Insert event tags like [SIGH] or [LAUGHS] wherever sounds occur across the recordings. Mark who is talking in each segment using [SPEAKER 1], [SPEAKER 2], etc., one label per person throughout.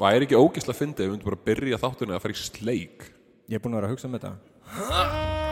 [SPEAKER 1] væri ekki ógislega fyndið ef við myndum bara að byrja þáttunni að fara í sleik
[SPEAKER 2] Ég er búin að vera að hugsa um þetta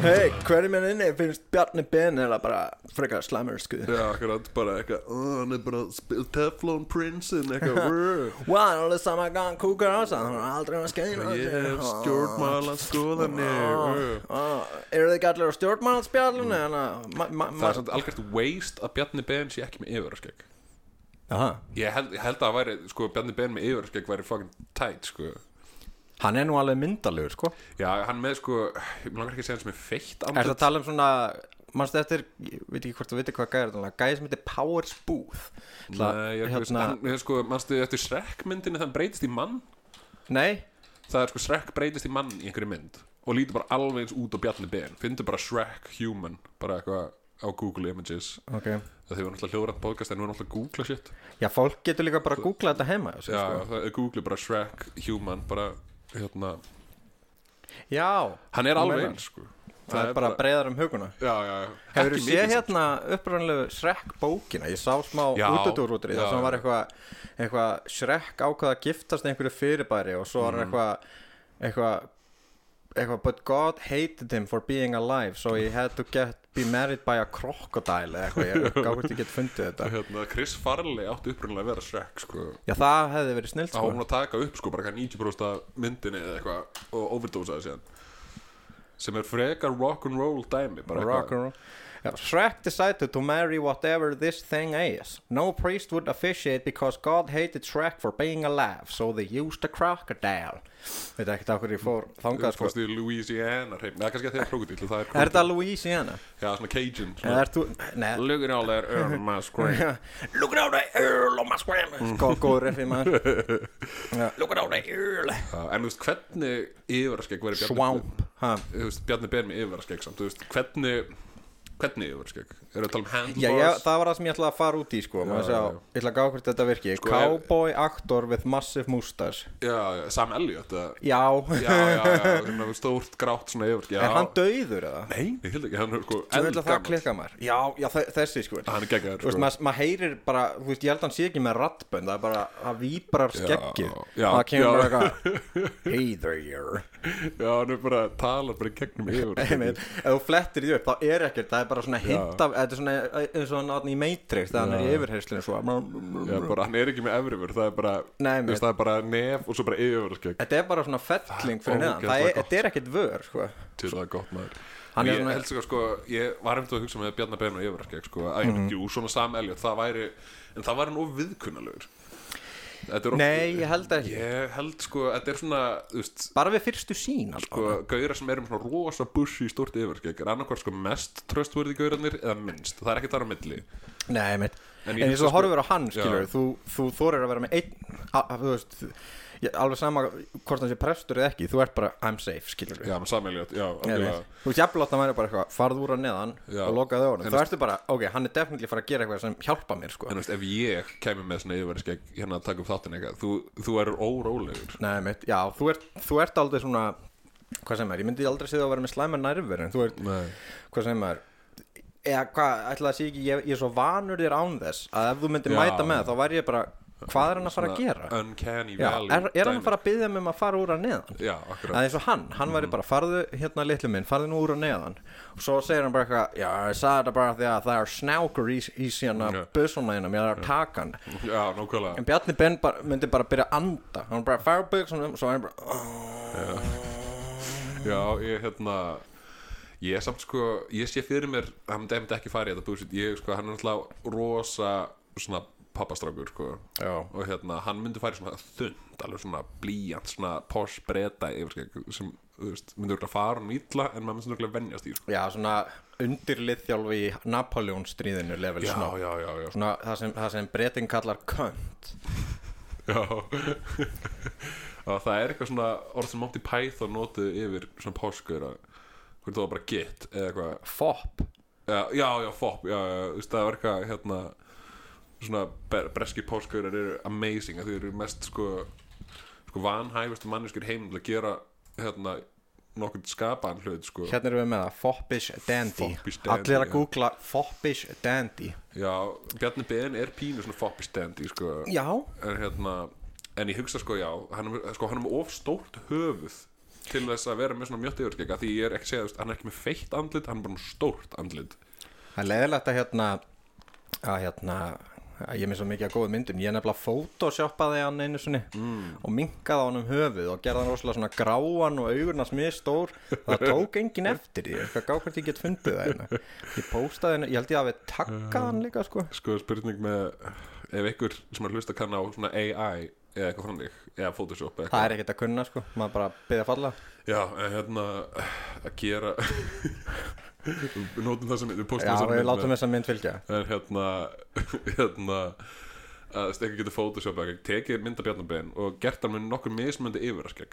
[SPEAKER 3] Hei, hverjum en inni finnst Bjarni Ben eða bara frekar slæmur skuð
[SPEAKER 1] Já, akkurat, bara eitthvað uh, Hann er bara spil- Teflon Princein eitthvað brr.
[SPEAKER 3] Wow, alveg sama gang kúkar á sig, hún er aldrei að Ah, skeina
[SPEAKER 1] Ég hef stjórnmála skoðanir uh.
[SPEAKER 3] ah, Eru þið gallir á stjórnmálspjallinu en að ma- ma-
[SPEAKER 1] Það
[SPEAKER 3] ma-
[SPEAKER 1] er samt algjört waste að Bjarni Ben sé ekki með yfirarskegg
[SPEAKER 2] Aha.
[SPEAKER 1] ég, held- ég held að það væri, sko, Bjarni Ben með yfirarskegg væri fucking tight, sko
[SPEAKER 2] Hann er nú alveg myndalegur sko
[SPEAKER 1] Já, hann með, sko, ég langar ekki að segja hann sem er feitt
[SPEAKER 2] Er það
[SPEAKER 1] andlit
[SPEAKER 2] að tala um svona Manstu eftir, ég veit ekki hvort þú veitir hvað gæði þetta Gæði sem heitir Powers Booth
[SPEAKER 1] Nei, ég er ekki
[SPEAKER 2] hérna,
[SPEAKER 1] veist, hann, sko, manstu eftir Shrek myndinni þann breytist í mann
[SPEAKER 2] Nei,
[SPEAKER 1] það er sko Shrek breytist í mann í einhverju mynd og lítur bara alveg eins út á Bjarni Ben fyndu bara Shrek human bara eitthvað á Google Images
[SPEAKER 2] ok
[SPEAKER 1] það þau var náttúrulega hljóðrænt podcast en nú er náttúrulega að googla shit
[SPEAKER 2] Já, fólk getur líka bara að googla þetta heima Já,
[SPEAKER 1] já,
[SPEAKER 2] sko.
[SPEAKER 1] það er Google bara Shrek human bara hérna
[SPEAKER 2] já
[SPEAKER 1] hann er
[SPEAKER 2] Þú
[SPEAKER 1] alveg
[SPEAKER 2] meinar.
[SPEAKER 1] eins sko
[SPEAKER 2] það, er bara breiðar um huguna
[SPEAKER 1] já, já, já
[SPEAKER 2] Hefur þú
[SPEAKER 1] Ekki
[SPEAKER 2] séð
[SPEAKER 1] mikið,
[SPEAKER 2] hérna upprannlegu Shrek bókina? Ég sá smá
[SPEAKER 1] Já,
[SPEAKER 2] útudúrútri
[SPEAKER 1] já,
[SPEAKER 2] þar sem
[SPEAKER 1] já.
[SPEAKER 2] var eitthvað eitthva, Shrek ákvað að giftast einhverju fyrirbæri og svo var
[SPEAKER 1] Mhm.
[SPEAKER 2] eitthvað eitthvað eitthvað But God hated him for being alive so he had to get be married by a crocodile eða eitthvað, ég
[SPEAKER 1] [LAUGHS]
[SPEAKER 2] gáði ekki get fundið
[SPEAKER 1] sko.
[SPEAKER 2] þetta
[SPEAKER 1] hérna, Chris Farley átti upprunnilega að vera Shrek sko
[SPEAKER 2] Já, það hefði verið snilt
[SPEAKER 1] þá var hún
[SPEAKER 2] sko.
[SPEAKER 1] að taka upp sko bara eitthvað 90% af myndinni eða eitthvað og overdosaði síðan sem er frekar rock'n'roll dæmi bara eitthvað-
[SPEAKER 2] Rock and roll Já, Shrek decided to marry whatever this thing is. No priest would officiate because God hated Shrek for being alive, so they used a crocodile. Veit ekkert af hverju ég fór þangað sko.
[SPEAKER 1] fórst í Louisiana hreifn, eða kannski að þeir eru krokodil það er
[SPEAKER 2] Er þetta Louisiana?
[SPEAKER 1] já, svona Cajun
[SPEAKER 2] Eða er þú... Nei,
[SPEAKER 1] Lugur á sko. þeir örma [LAUGHS] skræn
[SPEAKER 3] Look at all the earl on my scram
[SPEAKER 2] sko, góður
[SPEAKER 1] [LAUGHS]
[SPEAKER 2] reffi maður.
[SPEAKER 3] Look at all the earl
[SPEAKER 1] en þú veist hvernig yfirarskegg verið
[SPEAKER 2] Swamp. Ha.
[SPEAKER 1] þú veist Bjarni Ben með yfirarskegg samt þú veist hvernig hvernig yfirarskegg eru að tala um handlebars
[SPEAKER 2] Já, já, það var það sem ég ætlaði að fara út í sko. Má
[SPEAKER 1] Já,
[SPEAKER 2] sjá,
[SPEAKER 1] já.
[SPEAKER 2] ég ætla að gá hvort þetta virki.
[SPEAKER 1] Sko, ef-
[SPEAKER 2] Cowboy actor with massive mustache.
[SPEAKER 1] já, já, Sam Elliot eða-
[SPEAKER 2] [LAUGHS] Já.
[SPEAKER 1] já, já, já, svona stórt grátt svona yfirarskegg
[SPEAKER 2] Er hann döiður eða?
[SPEAKER 1] nei, ég held ekki, hann er sko
[SPEAKER 2] Þú veit að það
[SPEAKER 1] eldgamall.
[SPEAKER 2] klikka maður. Já, já, þe- þessi sko.
[SPEAKER 1] hann er geggar
[SPEAKER 2] Þú veist, maður mað heyrir bara, þú veist, ég held að hann sé ekki með rattbönd, það er bara, það víbrar skeggið.
[SPEAKER 1] já,
[SPEAKER 2] það
[SPEAKER 1] já.
[SPEAKER 2] kemur bara eitthvað, hey there.
[SPEAKER 1] já, hann er bara talar bara í
[SPEAKER 2] [LAUGHS]
[SPEAKER 1] gegnum
[SPEAKER 2] Einmitt,
[SPEAKER 1] yfirarskegg
[SPEAKER 2] ef þú flettir því upp, þá er ekkert, það er bara svona hint af, þetta er svona eins og hann átni í Matrix, þegar hann er í yfirheyslinu svo.
[SPEAKER 1] Já, bara, hann er ekki með efrifur, það er bara,
[SPEAKER 2] Nei,
[SPEAKER 1] þú veist, það er bara nef og svo bara yfirarskegg
[SPEAKER 2] Þetta er bara svona felling
[SPEAKER 1] Það er
[SPEAKER 2] fyrir
[SPEAKER 1] ógeðslega
[SPEAKER 2] neðan, það er,
[SPEAKER 1] gott.
[SPEAKER 2] þetta er ekkert vör, sko.
[SPEAKER 1] til það er gott maður og
[SPEAKER 2] Hann er
[SPEAKER 1] ég
[SPEAKER 2] svona-
[SPEAKER 1] held sig að sko, ég var eftir að hugsa með Bjarnar Ben og Yfirarkeg sko, að
[SPEAKER 2] Mhm.
[SPEAKER 1] mm -hmm. jú, svona Sam Elliot, það væri en það væri nú viðkunnalegur Þetta er of-
[SPEAKER 2] Nei, ég held ekki.
[SPEAKER 1] ég held sko, þetta er svona þú veist,
[SPEAKER 2] Bara við fyrstu sín,
[SPEAKER 1] sko,
[SPEAKER 2] sko.
[SPEAKER 1] gauðra sem eru með svona rosa bussi í stórt Yfirarkeg er annarkvært sko mest tröstverði gauðranir eða minnst, það er ekki þar á milli
[SPEAKER 2] Nei, mitt.
[SPEAKER 1] En
[SPEAKER 2] En
[SPEAKER 1] ég
[SPEAKER 2] eins
[SPEAKER 1] hugsa
[SPEAKER 2] og
[SPEAKER 1] sko-
[SPEAKER 2] horfur á hann, skilur,
[SPEAKER 1] Já.
[SPEAKER 2] þú, þú þorir að vera með einn, a, a, þú veist, ég, alveg sama hvort hann sé prestur eða ekki, þú ert bara, I'm safe, skilur.
[SPEAKER 1] Já, með Sam Elliot, já,
[SPEAKER 2] Ég
[SPEAKER 1] algjörlega.
[SPEAKER 2] veit. Þú jafnlótt að væri bara eitthvað farð úr að neðan
[SPEAKER 1] Já.
[SPEAKER 2] og lokaði á honum
[SPEAKER 1] En
[SPEAKER 2] Þú ertu bara, ok, hann er definitely að fara að gera eitthvað sem hjálpa mér sko
[SPEAKER 1] En þú veist, ef ég kæmi með svona yfirarskegg hérna að taka upp þáttin eitthvað, þú, þú erur órólegur
[SPEAKER 2] Nei, mitt, já, þú ert, þú ert aldrei svona hvað sem er, ég myndi aldrei séð að vera með slæma nærver en þú ert,
[SPEAKER 1] Nei.
[SPEAKER 2] hvað sem er eða hvað, ætla að sé ekki ég, ég er svo vanur þér án þess að ef þú myndir
[SPEAKER 1] Já.
[SPEAKER 2] mæta með þá væri ég bara hvað er hann að fara að gera?
[SPEAKER 1] Uncanny
[SPEAKER 2] Já,
[SPEAKER 1] Valley
[SPEAKER 2] er, er hann
[SPEAKER 1] dæmi.
[SPEAKER 2] að fara að byggja mig um að fara úr að neðan?
[SPEAKER 1] Já, akkurat
[SPEAKER 2] Það er eins og hann, hann
[SPEAKER 1] Mhm.
[SPEAKER 2] væri bara farðu hérna litlu minn, farðu nú úr og neðan og svo segir hann bara eitthvað, já ég sagði þetta bara því að það er snákur í, í síðan að
[SPEAKER 1] Já.
[SPEAKER 2] bussuna hérna, ég er að taka hann
[SPEAKER 1] Já, nákvæmlega
[SPEAKER 2] en Bjarni Ben bara, myndi bara byrja að anda hann bara fara buksunum, svo hann bara
[SPEAKER 1] Já, ég hérna Ég er samt sko, ég sé fyrir mér Hann myndi einmitt ekki fara í þetta búsit Ég sko, hann er náttúrulega rosa Svona pappastrákur sko.
[SPEAKER 2] Já.
[SPEAKER 1] og hérna, hann myndi færi svona þund alveg svona blíjant, svona posh breyta yfir skegg sem, þú veist, myndi örugglega fara um ítla en maður myndi örugglega venjast í sko.
[SPEAKER 2] Já, svona undirliðþjálfi í Napoleon stríðinu level
[SPEAKER 1] já,
[SPEAKER 2] snob.
[SPEAKER 1] já, já, já,
[SPEAKER 2] Svona það sem, það sem breyting kallar könt.
[SPEAKER 1] já. [LAUGHS] og það er eitthvað svona orð sem Monty Python notuðu yfir svona poshgöra hvernig það var bara git eða eitthvað
[SPEAKER 2] Fop.
[SPEAKER 1] já, já, já, fop já, já, þú veist, það var eitthvað hérna, svona ber- breski póskaurar eru amazing að þau eru mest sko, sko vanhæfustu manneskir heim til að gera hérna, nokkurn skapaðan hlut sko.
[SPEAKER 2] Hérna erum við með það, foppish dandy.
[SPEAKER 1] Foppish dandy,
[SPEAKER 2] Allir að
[SPEAKER 1] já.
[SPEAKER 2] googla foppish dandy.
[SPEAKER 1] já, Bjarni Ben er pínu svona foppistandi sko.
[SPEAKER 2] Já.
[SPEAKER 1] en hérna en ég hugsa sko, já, hann er, sko, hann er með of stórt höfuð til þess að vera með svona mjótt yfirskega því ég er ekki að segja, þú veist, hann er ekki með feitt andlit hann er bara með stórt andlit
[SPEAKER 2] Það er leiðilegt að hérna, að hérna, að ég er með svo mikið að góða myndum. Ég nefnilega photoshoppaði hann einu sinni og minkaði á hann um höfuð og gerði hann rosalega svona gráan og augurnars mjög stór. Það tók enginn eftir því. Ég skal gá hvort ég get fundið það hérna. Ég postaði hann, ég held ég að við takkað hann líka sko.
[SPEAKER 1] sko spurning með ef einhver sem er að hlusta kann á svona AI eða eitthvað þannig, eða Photoshop eða
[SPEAKER 2] Það
[SPEAKER 1] eitthvað
[SPEAKER 2] er ekkert að kunna sko, maður bara byrja að falla
[SPEAKER 1] já, en hérna að gera [LAUGHS] við notum það sem við
[SPEAKER 2] Já,
[SPEAKER 1] postum þessari
[SPEAKER 2] við
[SPEAKER 1] mynd
[SPEAKER 2] látum þess að mynd fylgja
[SPEAKER 1] en hérna [LAUGHS] hérna að stekka getur Photoshop eða eitthvað, tekið myndabjarnabin og gert hann með nokkur mismöndi
[SPEAKER 2] [LAUGHS]
[SPEAKER 1] yfirarskegg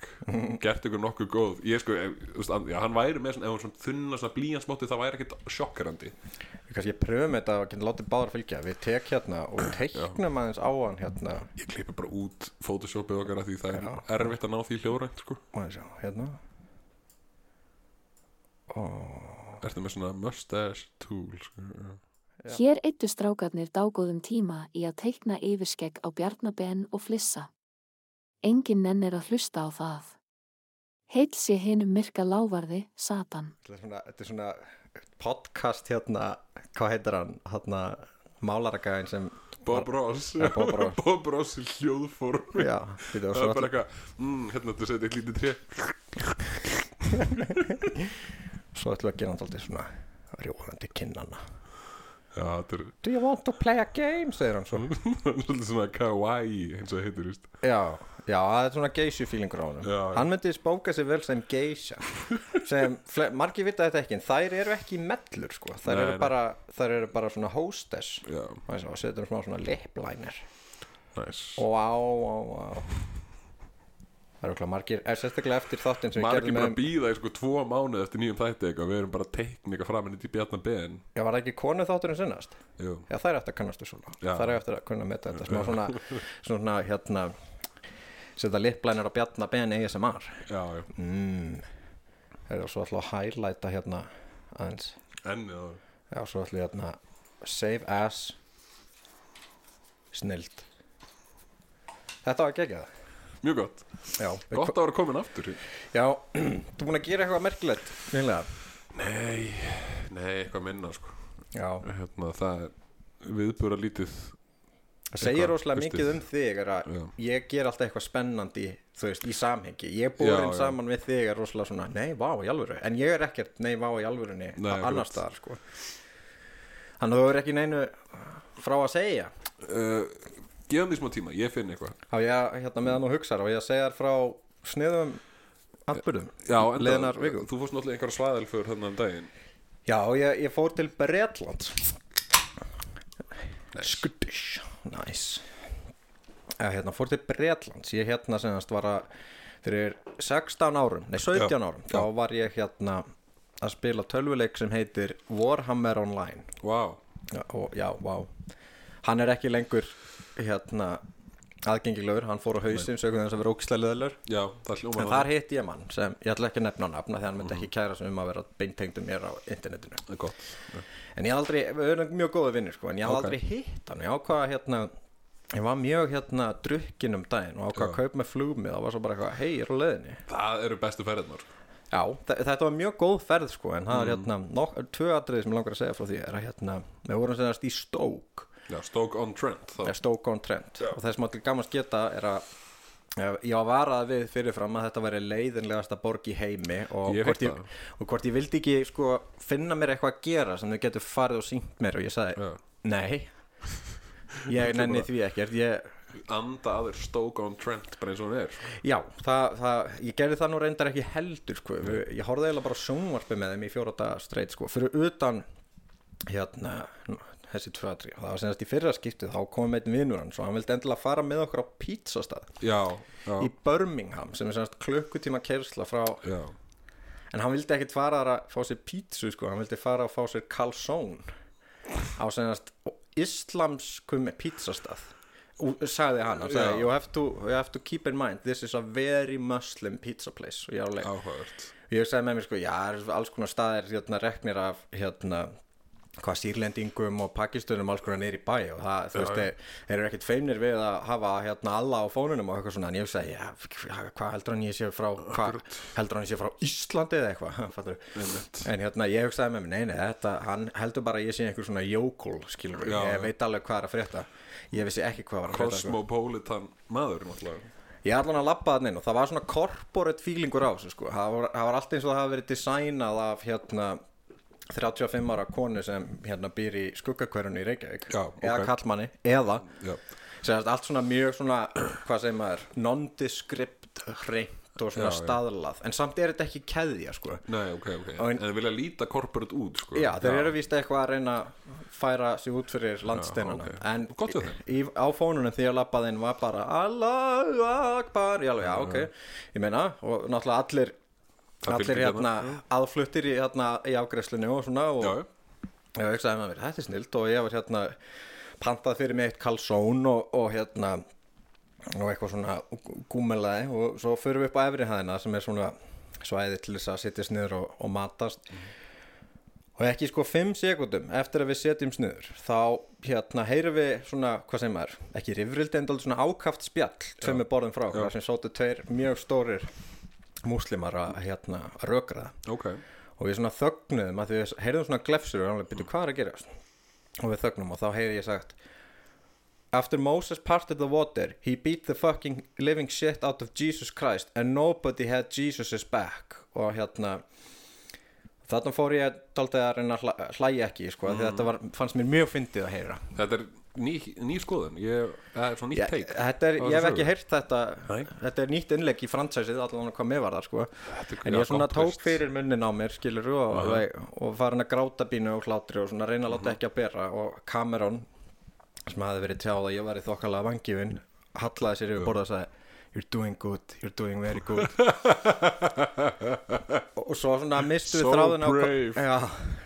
[SPEAKER 1] gert ykkur nokkur góð ég sko, ef, þú veist, and- já, hann væri með svona, ef hann svona þunna svona blíjansmóti það væri ekkit sjokkarandi
[SPEAKER 2] Við kannski pröfum þetta og getum látið báðar fylgja Við tek hérna og teiknum aðeins á hann hérna
[SPEAKER 1] ég klippi bara út Photoshopið okkar af því það er erfitt að ná því hljóðrænt sko.
[SPEAKER 2] Má ég sjá, hérna
[SPEAKER 1] Ertu með svona mustache tool sko. já.
[SPEAKER 4] Hér eittu strákarnir dágóðum tíma í að teikna yfirskegg á bjarnabenn og flissa. Engin nenn er að hlusta á það. Heill sé hinum myrka lávarði, Satan.
[SPEAKER 2] Þetta er svona, þetta er svona podcast hérna Hvað heitir hann? Hérna málaragæðin sem
[SPEAKER 1] Bob Ross
[SPEAKER 2] Ja, Bob Ross.
[SPEAKER 1] [LAUGHS] Bob Ross í hljóðformi
[SPEAKER 2] Já, við
[SPEAKER 1] Það er bara
[SPEAKER 2] það
[SPEAKER 1] eitthvað mm, Hérna þetta setja eitt lítið tré
[SPEAKER 2] Svo ætlum við að gera hann alltaf svona Rjóðandi kinnana
[SPEAKER 1] Já, þetta er [LAUGHS]
[SPEAKER 2] Do you want to play a game? segir hann svo
[SPEAKER 1] Mm. Svolítið svona kawaii eins og það heitir víst.
[SPEAKER 2] Já, já, það er svona geysju fílingur á honum
[SPEAKER 1] Já, já.
[SPEAKER 2] Hann myndi spóka sig vel sem geysja sem, fle- margir vita þetta ekki en þær eru ekki mellur sko þær,
[SPEAKER 1] Nei,
[SPEAKER 2] eru
[SPEAKER 1] nei.
[SPEAKER 2] bara, þær eru bara svona hostess
[SPEAKER 1] Já,
[SPEAKER 2] og svo setjum smá svona lipliner
[SPEAKER 1] næs
[SPEAKER 2] og á, á, á Það eru okkur margir, er sérstaklega eftir þáttinn sem
[SPEAKER 1] Maður er
[SPEAKER 2] við
[SPEAKER 1] ekki bara
[SPEAKER 2] gerðum um-
[SPEAKER 1] að býða í sko tvo mánuð eftir nýjum þætti eitthvað Við erum bara að teikna eitthvað fram henni til Bjarnar Ben
[SPEAKER 2] Já, var það ekki konu þátturinn sinnast?
[SPEAKER 1] Jú,
[SPEAKER 2] Já, þær eru eftir að kannastu svona
[SPEAKER 1] Já.
[SPEAKER 2] Þær eru eftir að kunna að meta
[SPEAKER 1] [LAUGHS]
[SPEAKER 2] þetta smá svona, svona hérna setja lipliner á bjarna ben ASMR
[SPEAKER 1] já, já
[SPEAKER 2] Það er svo ætla að highlighta hérna aðeins
[SPEAKER 1] En, já
[SPEAKER 2] Já, svo ætla ég hérna Save as Snild Þetta var ekki ekki það
[SPEAKER 1] Mjög gott
[SPEAKER 2] Já, við-
[SPEAKER 1] Gott að vera komin aftur
[SPEAKER 2] Já, [CLEARS THROAT] þú búin að gera eitthvað merkilegt Nýlega
[SPEAKER 1] Nei, nei, eitthvað minna sko
[SPEAKER 2] Já,
[SPEAKER 1] Hérna, það er viðbúra lítið
[SPEAKER 2] það segir
[SPEAKER 1] Eitthvað
[SPEAKER 2] rosalega
[SPEAKER 1] haustið.
[SPEAKER 2] mikið um þig er að
[SPEAKER 1] Já.
[SPEAKER 2] Ég ger alltaf eitthvað spennandi Þú veist, í samhengi Ég er
[SPEAKER 1] Já,
[SPEAKER 2] borin
[SPEAKER 1] já.
[SPEAKER 2] saman við þig er rosalega svona Nei, vá, í alvöru En ég er ekkert, nei, vá, í alvörunni
[SPEAKER 1] Nei,
[SPEAKER 2] a-
[SPEAKER 1] akkurat.
[SPEAKER 2] Annars staðar, sko Þannig að þú er ekki neinu frá að segja
[SPEAKER 1] uh, gefum því smá tíma, ég finn eitthvað
[SPEAKER 2] Já, ég hérna meðan og hugsa og ég að segja þér frá sniðum atbyrðum
[SPEAKER 1] Já, enda,
[SPEAKER 2] liðnar viku
[SPEAKER 1] þú fórst náttúrulega einhverja svaðil fyrir þannig um daginn
[SPEAKER 2] Já, ég, ég fór til Bretland Skuttish Nice Já, hérna, fór til Bretlands Ég hérna semast var að fyrir 16 árum, nei 17
[SPEAKER 1] Já,
[SPEAKER 2] árum þá var ég hérna að spila tölvuleik sem heitir Warhammer Online
[SPEAKER 1] Vá, wow.
[SPEAKER 2] Já, og, já, vá Hann er ekki lengur hérna aðgengilegur, hann fór á hausinn sögum þess að vera ógislega leðalur
[SPEAKER 1] já, það hljóma
[SPEAKER 2] En þar hitti ég mann sem ég ætla ekki að nefna nafna því hann myndi ekki kæra sem um að vera beintengdur mér á internetinu
[SPEAKER 1] er gott
[SPEAKER 2] En ég aldrei, við erum mjög góða vinnir sko En ég hafði
[SPEAKER 1] Ok.
[SPEAKER 2] aldrei hitt hann Ég ákvaða hérna Ég var mjög hérna drukkin um daginn og ákvaða að kaupa með flugmið og var svo bara eitthvað, hei, ég er á leiðinni
[SPEAKER 1] Það eru bestu sko. ferðnar
[SPEAKER 2] Já, þe- þetta var mjög góð ferð sko en það er hérna, nokk, tvö atriði sem ég langar að segja frá því er að hérna, við vorum sem í stók
[SPEAKER 1] Já, Stoke on Trent þá.
[SPEAKER 2] er stók on trend og það sem allir gaman sketa er að eh, ég var varað við fyrirfram að þetta væri leiðinlegasta borg í heimi og
[SPEAKER 1] Ég
[SPEAKER 2] hvort
[SPEAKER 1] veit
[SPEAKER 2] ég,
[SPEAKER 1] það.
[SPEAKER 2] og hvort ég vildi ekki sko, finna mér eitthvað að gera sem þau getur farið og sínt mér og ég sagði
[SPEAKER 1] Já.
[SPEAKER 2] nei ég nenni því ekkert ég,
[SPEAKER 1] anda að þér Stoke on Trent bara eins og hún er sko.
[SPEAKER 2] já, það, það, ég gerði það nú reyndar ekki heldur sko. Við- ég horfði eiginlega bara á sjónvarpi með þeim í fjóra daga streit sko. fyrir utan hérna, nú, þessi tvö aðri það var senast í fyrra skiptið, þá kom einn vinnur hans og hann vildi endilega fara með okkur á pizzastað
[SPEAKER 1] já, já,
[SPEAKER 2] í Birmingham sem er senast klukkutíma kersla frá
[SPEAKER 1] já.
[SPEAKER 2] En hann vildi ekkit fara að fá sér pítsu sko, hann vildi fara að fá sér kalsón á senast islamskum pítsastað og sagði hann, hann sagði,
[SPEAKER 1] Já.
[SPEAKER 2] you have, to, you have to keep in mind this is a very muslim pizza place og ég, var alveg,
[SPEAKER 1] áhugavert
[SPEAKER 2] ég sagði með mér sko, já, það eru alls konar staðir hérna reknir af hérna hvað sýrlendingum og pakistunum alls konar niður í bæ og það,
[SPEAKER 1] Já,
[SPEAKER 2] þú veist,
[SPEAKER 1] já.
[SPEAKER 2] þeir, þeir eru ekkit feimnir við að hafa hérna alla á fónunum og eitthvað svona, en ég sagði, já, hva- hvað heldur hann ég sé frá, hvað heldur hann ég sé frá Íslandi eða eitthvað, [LAUGHS] fattur
[SPEAKER 1] Einmitt.
[SPEAKER 2] En hérna, ég hugsaði með mér, nei, nei, þetta, hann heldur bara að ég sé einhver svona jókul, skilur
[SPEAKER 1] Já, já.
[SPEAKER 2] ég veit alveg hvað er að frétta, ég vissi ekki hvað var að frétta. sko.
[SPEAKER 1] Cosmopolitan maður náttúrulega
[SPEAKER 2] Ég allan að labba þannig og það var svona corporate feelingur á þessu, sko, það var, það var allt eins og það hafi verið designað af, hérna, 35 ára konu sem hérna býr í skuggakverjunni í Reykjavík
[SPEAKER 1] Já,
[SPEAKER 2] eða
[SPEAKER 1] ok.
[SPEAKER 2] kallmanni, eða
[SPEAKER 1] já,
[SPEAKER 2] segast allt svona mjög svona hvað segir maður, nondescript hreint og svona
[SPEAKER 1] Já, já.
[SPEAKER 2] staðlað en samt er þetta ekki keðja sko
[SPEAKER 1] nei, ok, ok en
[SPEAKER 2] Og ein-
[SPEAKER 1] þeir vilja líta corporate út sko.
[SPEAKER 2] Já, þeir eru víst eitthvað að reyna að færa sig út fyrir landsteinana
[SPEAKER 1] Já, ok.
[SPEAKER 2] En
[SPEAKER 1] Gott hjá þeim.
[SPEAKER 2] í, á fónunum því að labbaðinn var bara Allahu Akbar Já, já, ok, ég meina og náttúrulega allir
[SPEAKER 1] Það
[SPEAKER 2] allir
[SPEAKER 1] fylgir
[SPEAKER 2] hérna aðfluttir í, hérna, í ágreifslunni og svona og
[SPEAKER 1] já, já.
[SPEAKER 2] ég hugsaði með mér, þetta er snilt og ég var hérna pantað fyrir mig eitt kalsón og, og hérna og eitthvað svona gúmelaði og svo förum við upp á efri hæðina sem er svona svæði til þess að sittist niður og, og matast og ekki sko 5 sekundum eftir að við setjumst niður þá hérna heyrum við svona hvað sem er, ekki rifrildi en dálítið svona ákaft spjall tveimur borðum frá okkur
[SPEAKER 1] Já.
[SPEAKER 2] þar sem sótu tveir mjög stórir múslimar að hérna rökraða
[SPEAKER 1] ok,
[SPEAKER 2] og við svona þögnuðum að því við heyrðum svona glefsur og alveg byrju hvað er að gerast og við þögnum og þá heyrði ég sagt After Moses parted the water he beat the fucking living shit out of Jesus Christ and nobody had Jesus's back og hérna þarna fór ég dálítið að reyna að hla- hlæja ekki sko, mm. þetta var, fannst mér mjög fyndið að heyra
[SPEAKER 1] þetta er ný, ný skoðun ég, það er svona nýtt
[SPEAKER 2] Ég,
[SPEAKER 1] teik
[SPEAKER 2] þetta
[SPEAKER 1] Á
[SPEAKER 2] er, ég hef
[SPEAKER 1] þessa
[SPEAKER 2] ekki
[SPEAKER 1] sögu.
[SPEAKER 2] heyrt þetta
[SPEAKER 1] Nei.
[SPEAKER 2] þetta er nýtt innlegg í fransæsið allan hvað mér var það sko
[SPEAKER 1] Þetta er-
[SPEAKER 2] en
[SPEAKER 1] já,
[SPEAKER 2] ég svona
[SPEAKER 1] gott
[SPEAKER 2] tók
[SPEAKER 1] twist.
[SPEAKER 2] fyrir munnin á mér skilur og, og, og farin að gráta bínu og hlátri og svona reyna að láta ekki að bera og Cameron sem hafði verið tjáð að ég var í þokkalega vangifin hallaði sér yfir borða og sagði you're doing good, you're doing very
[SPEAKER 1] [LAUGHS]
[SPEAKER 2] good og, og svo svona mistu
[SPEAKER 1] So
[SPEAKER 2] við þráðun á
[SPEAKER 1] brave.
[SPEAKER 2] já,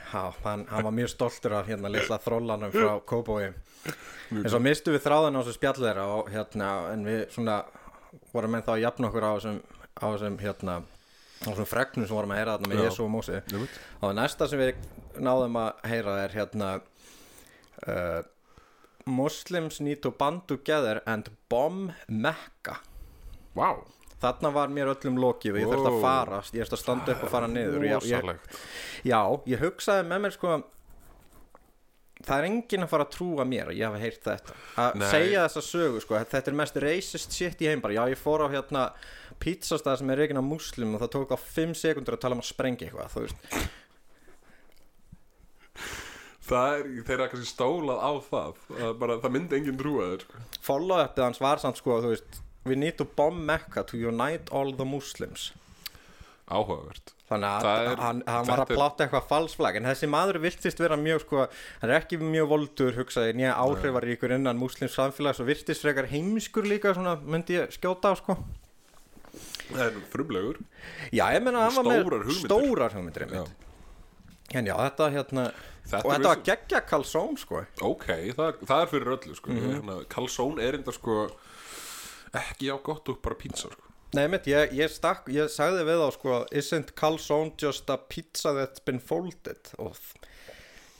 [SPEAKER 2] já hann, hann var mjög stoltur af hérna litla þrollanum frá
[SPEAKER 1] [LAUGHS]
[SPEAKER 2] Kóbói en svo mistu við þráðan á þessu spjall þeirra og hérna, en við svona vorum enn þá að jafna okkur á þessum á þessum hérna á þessum fregnum sem vorum að heyra þarna með
[SPEAKER 1] Já.
[SPEAKER 2] Jésu og Mósi
[SPEAKER 1] Einmitt.
[SPEAKER 2] og það næsta sem við náðum að heyra er hérna uh, Muslims need to band together and bomb Mecca
[SPEAKER 1] Vá,
[SPEAKER 2] Þarna var mér öllum lokið og ég
[SPEAKER 1] Wow.
[SPEAKER 2] þurfti að fara ég þurfti að standa upp og fara niður Ég- ég,
[SPEAKER 1] rosalegt
[SPEAKER 2] Já, ég hugsaði með mér sko Það er enginn að fara að trúa mér að ég hafi heyrt þetta Að
[SPEAKER 1] Nei.
[SPEAKER 2] segja þessa sögu sko Þetta er mest racist shit í heim bara Já, ég fór á hérna pizzastað sem er reygin af muslim og það tók á 5 sekundur að tala um að sprengja eitthvað þú veist
[SPEAKER 1] Það er, þeir eru kannski stólað á það Það, er bara, það myndi enginn trúa þér sko.
[SPEAKER 2] Follow-upið hans var samt sko þú veist We need to bomb Mecca to unite all the Muslims
[SPEAKER 1] Áhugavert
[SPEAKER 2] Þannig
[SPEAKER 1] Það
[SPEAKER 2] að
[SPEAKER 1] er-
[SPEAKER 2] hann, hann var
[SPEAKER 1] þetta
[SPEAKER 2] að
[SPEAKER 1] er-
[SPEAKER 2] pláta eitthvað falsflag En þessi maður virtist vera mjög sko Hann er ekki mjög voldur hugsaði Nýja áhrifaríkur innan múslims samfélags Og virtist frekar heimskur líka Svona myndi ég skjóta á sko
[SPEAKER 1] Það er frumlegur
[SPEAKER 2] Já ég menna hann var með
[SPEAKER 1] Stórar hugmyndir.
[SPEAKER 2] stórar hugmyndir einmitt. En já þetta hérna
[SPEAKER 1] Þetta
[SPEAKER 2] Og
[SPEAKER 1] er
[SPEAKER 2] þetta var
[SPEAKER 1] vissu-
[SPEAKER 2] geggja kalsón sko
[SPEAKER 1] Ok, það, það er fyrir öllu
[SPEAKER 2] Mhm.
[SPEAKER 1] sko. mm Kalsón er enda sko ekki á gott og bara pizza sko.
[SPEAKER 2] Nei mitt ég, ég stakk Ég sagði við þá sko Isn't kalsón just a pizza that's been folded Og þ-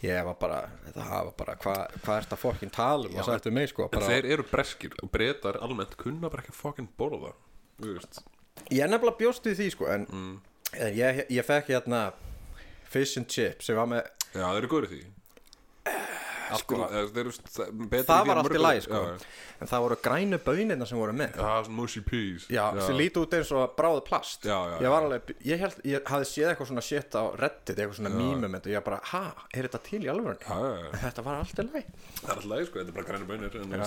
[SPEAKER 2] ég var bara Það var bara hvað hva er þetta fokkin tala um Og sagði þetta mig sko
[SPEAKER 1] En
[SPEAKER 2] bara,
[SPEAKER 1] þeir eru breskir og breytar almennt kunna bara ekki fucking borða Þú veist.
[SPEAKER 2] Ég er nefnilega bjóst við því sko En, en ég, ég fekk hérna Fish and chips sem var með
[SPEAKER 1] Já, þeir eru góður því sko, eða, þeir eru st- betri
[SPEAKER 2] Eh, Það
[SPEAKER 1] því
[SPEAKER 2] var
[SPEAKER 1] en
[SPEAKER 2] allt í
[SPEAKER 1] mörg-
[SPEAKER 2] lagi, sko.
[SPEAKER 1] já, já.
[SPEAKER 2] En það voru grænu bönirna sem voru með
[SPEAKER 1] Já, það var svona mushy peas
[SPEAKER 2] Já, sem líti út eins og bráðu plast
[SPEAKER 1] Já, já,
[SPEAKER 2] Ég var
[SPEAKER 1] já.
[SPEAKER 2] alveg, ég held, ég hafði séð eitthvað svona shit á reddit, eitthvað svona mýmum og ég bara, ha, er þetta til í alvörun?
[SPEAKER 1] Já, já, já.
[SPEAKER 2] Þetta var allt í lagi
[SPEAKER 1] Það er alltaf leið sko, þetta er bara grænar bönir en, en-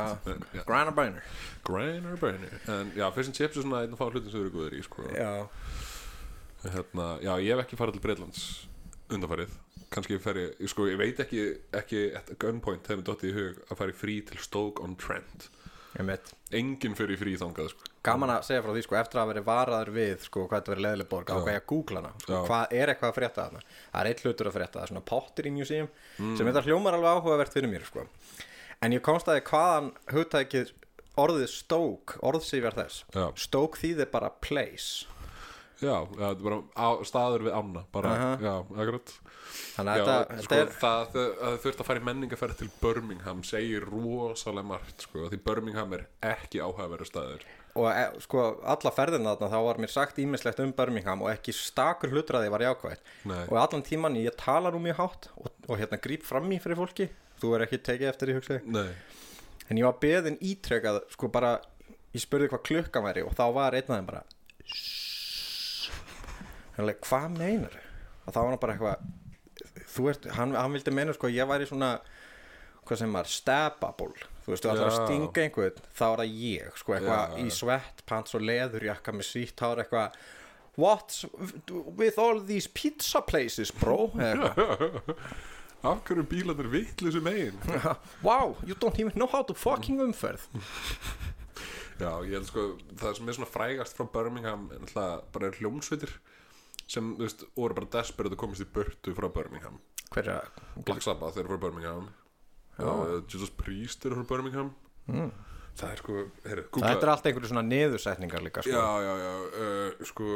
[SPEAKER 1] já.
[SPEAKER 2] Græna bönir
[SPEAKER 1] Grænar bönir En já, fyrst sem chips er svona einn og fá hlutin sem eru góður í sko.
[SPEAKER 2] Já,
[SPEAKER 1] hérna, já, ég hef ekki farið til Breitlands undanfarið Kannski fer ég, ég sko, ég veit ekki, ekki at gunpoint hefur dottið í hug að fara í frí til Stoke on Trent
[SPEAKER 2] ég mitt
[SPEAKER 1] Enginn fer í frí þangað sko.
[SPEAKER 2] Gaman að segja frá því, sko, eftir að hafa verið varaður við, sko, hvað þetta verið leðileg borg, á hvað ég að googla hana, sko,
[SPEAKER 1] Já.
[SPEAKER 2] hvað er eitthvað að frétta þarna? Það er eitt hlutur að frétta, það er svona pottir í museum,
[SPEAKER 1] Mm.
[SPEAKER 2] sem þetta hljómar alveg áhugavert fyrir mér, sko. En ég komst að því hvaðan hugtækið orðið stók, orðsýfjar þess.
[SPEAKER 1] Já.
[SPEAKER 2] Stók þýðir bara place.
[SPEAKER 1] Já, já, þetta er bara á, staður við ána bara, Já, akkurat
[SPEAKER 2] Þannig
[SPEAKER 1] Já,
[SPEAKER 2] að þetta,
[SPEAKER 1] sko,
[SPEAKER 2] þetta er,
[SPEAKER 1] það, það, það þurft að fara í menningaferð til Birmingham segir rosalega margt sko, því Birmingham er ekki áhæfæri staður
[SPEAKER 2] og e, sko, alla ferðina þarna, þá var mér sagt ímislegt um Birmingham og ekki stakur hlutur að því var jákvætt.
[SPEAKER 1] Nei.
[SPEAKER 2] Og allan tíman ég tala nú mjög hátt og, og hérna gríp fram í fyrir fólki. Þú er ekki tekið eftir í hugsaði.
[SPEAKER 1] Nei,
[SPEAKER 2] En ég var beðin ítrekað sko bara, ég spurði hvað klukkan væri og þá var einn af þeim bara Þannig, hvað meinar og þá var hann bara eitthvað þú ert, hann, hann vildi meina sko ég væri svona, hvað sem var stabable, þú veist, þú ætlar að
[SPEAKER 1] Já.
[SPEAKER 2] stinga einhvern, þá er það ég, sko eitthvað
[SPEAKER 1] Já.
[SPEAKER 2] í svettpants og leðurjakka með sítt hár eitthvað What's with all these pizza places, bro? Eða eitthvað.
[SPEAKER 1] [LAUGHS] af hverju bílarnir vitlu sem
[SPEAKER 2] [LAUGHS]
[SPEAKER 1] eigin
[SPEAKER 2] wow, you don't even know how to fucking umferð
[SPEAKER 1] Já, ég held sko, það sem er svona frægast frá Birmingham en það bara er hljómsveitir sem, þú veist, voru bara desperate að komast í burtu frá Birmingham
[SPEAKER 2] Hver er að
[SPEAKER 1] Black Sabbath er frá Birmingham uh, Jesus Priest er frá Birmingham Það er sko, heyrðu,
[SPEAKER 2] Mm. Það þetta er allt einhverju svona niðursetningar líka sko.
[SPEAKER 1] Já, já, já, uh, sko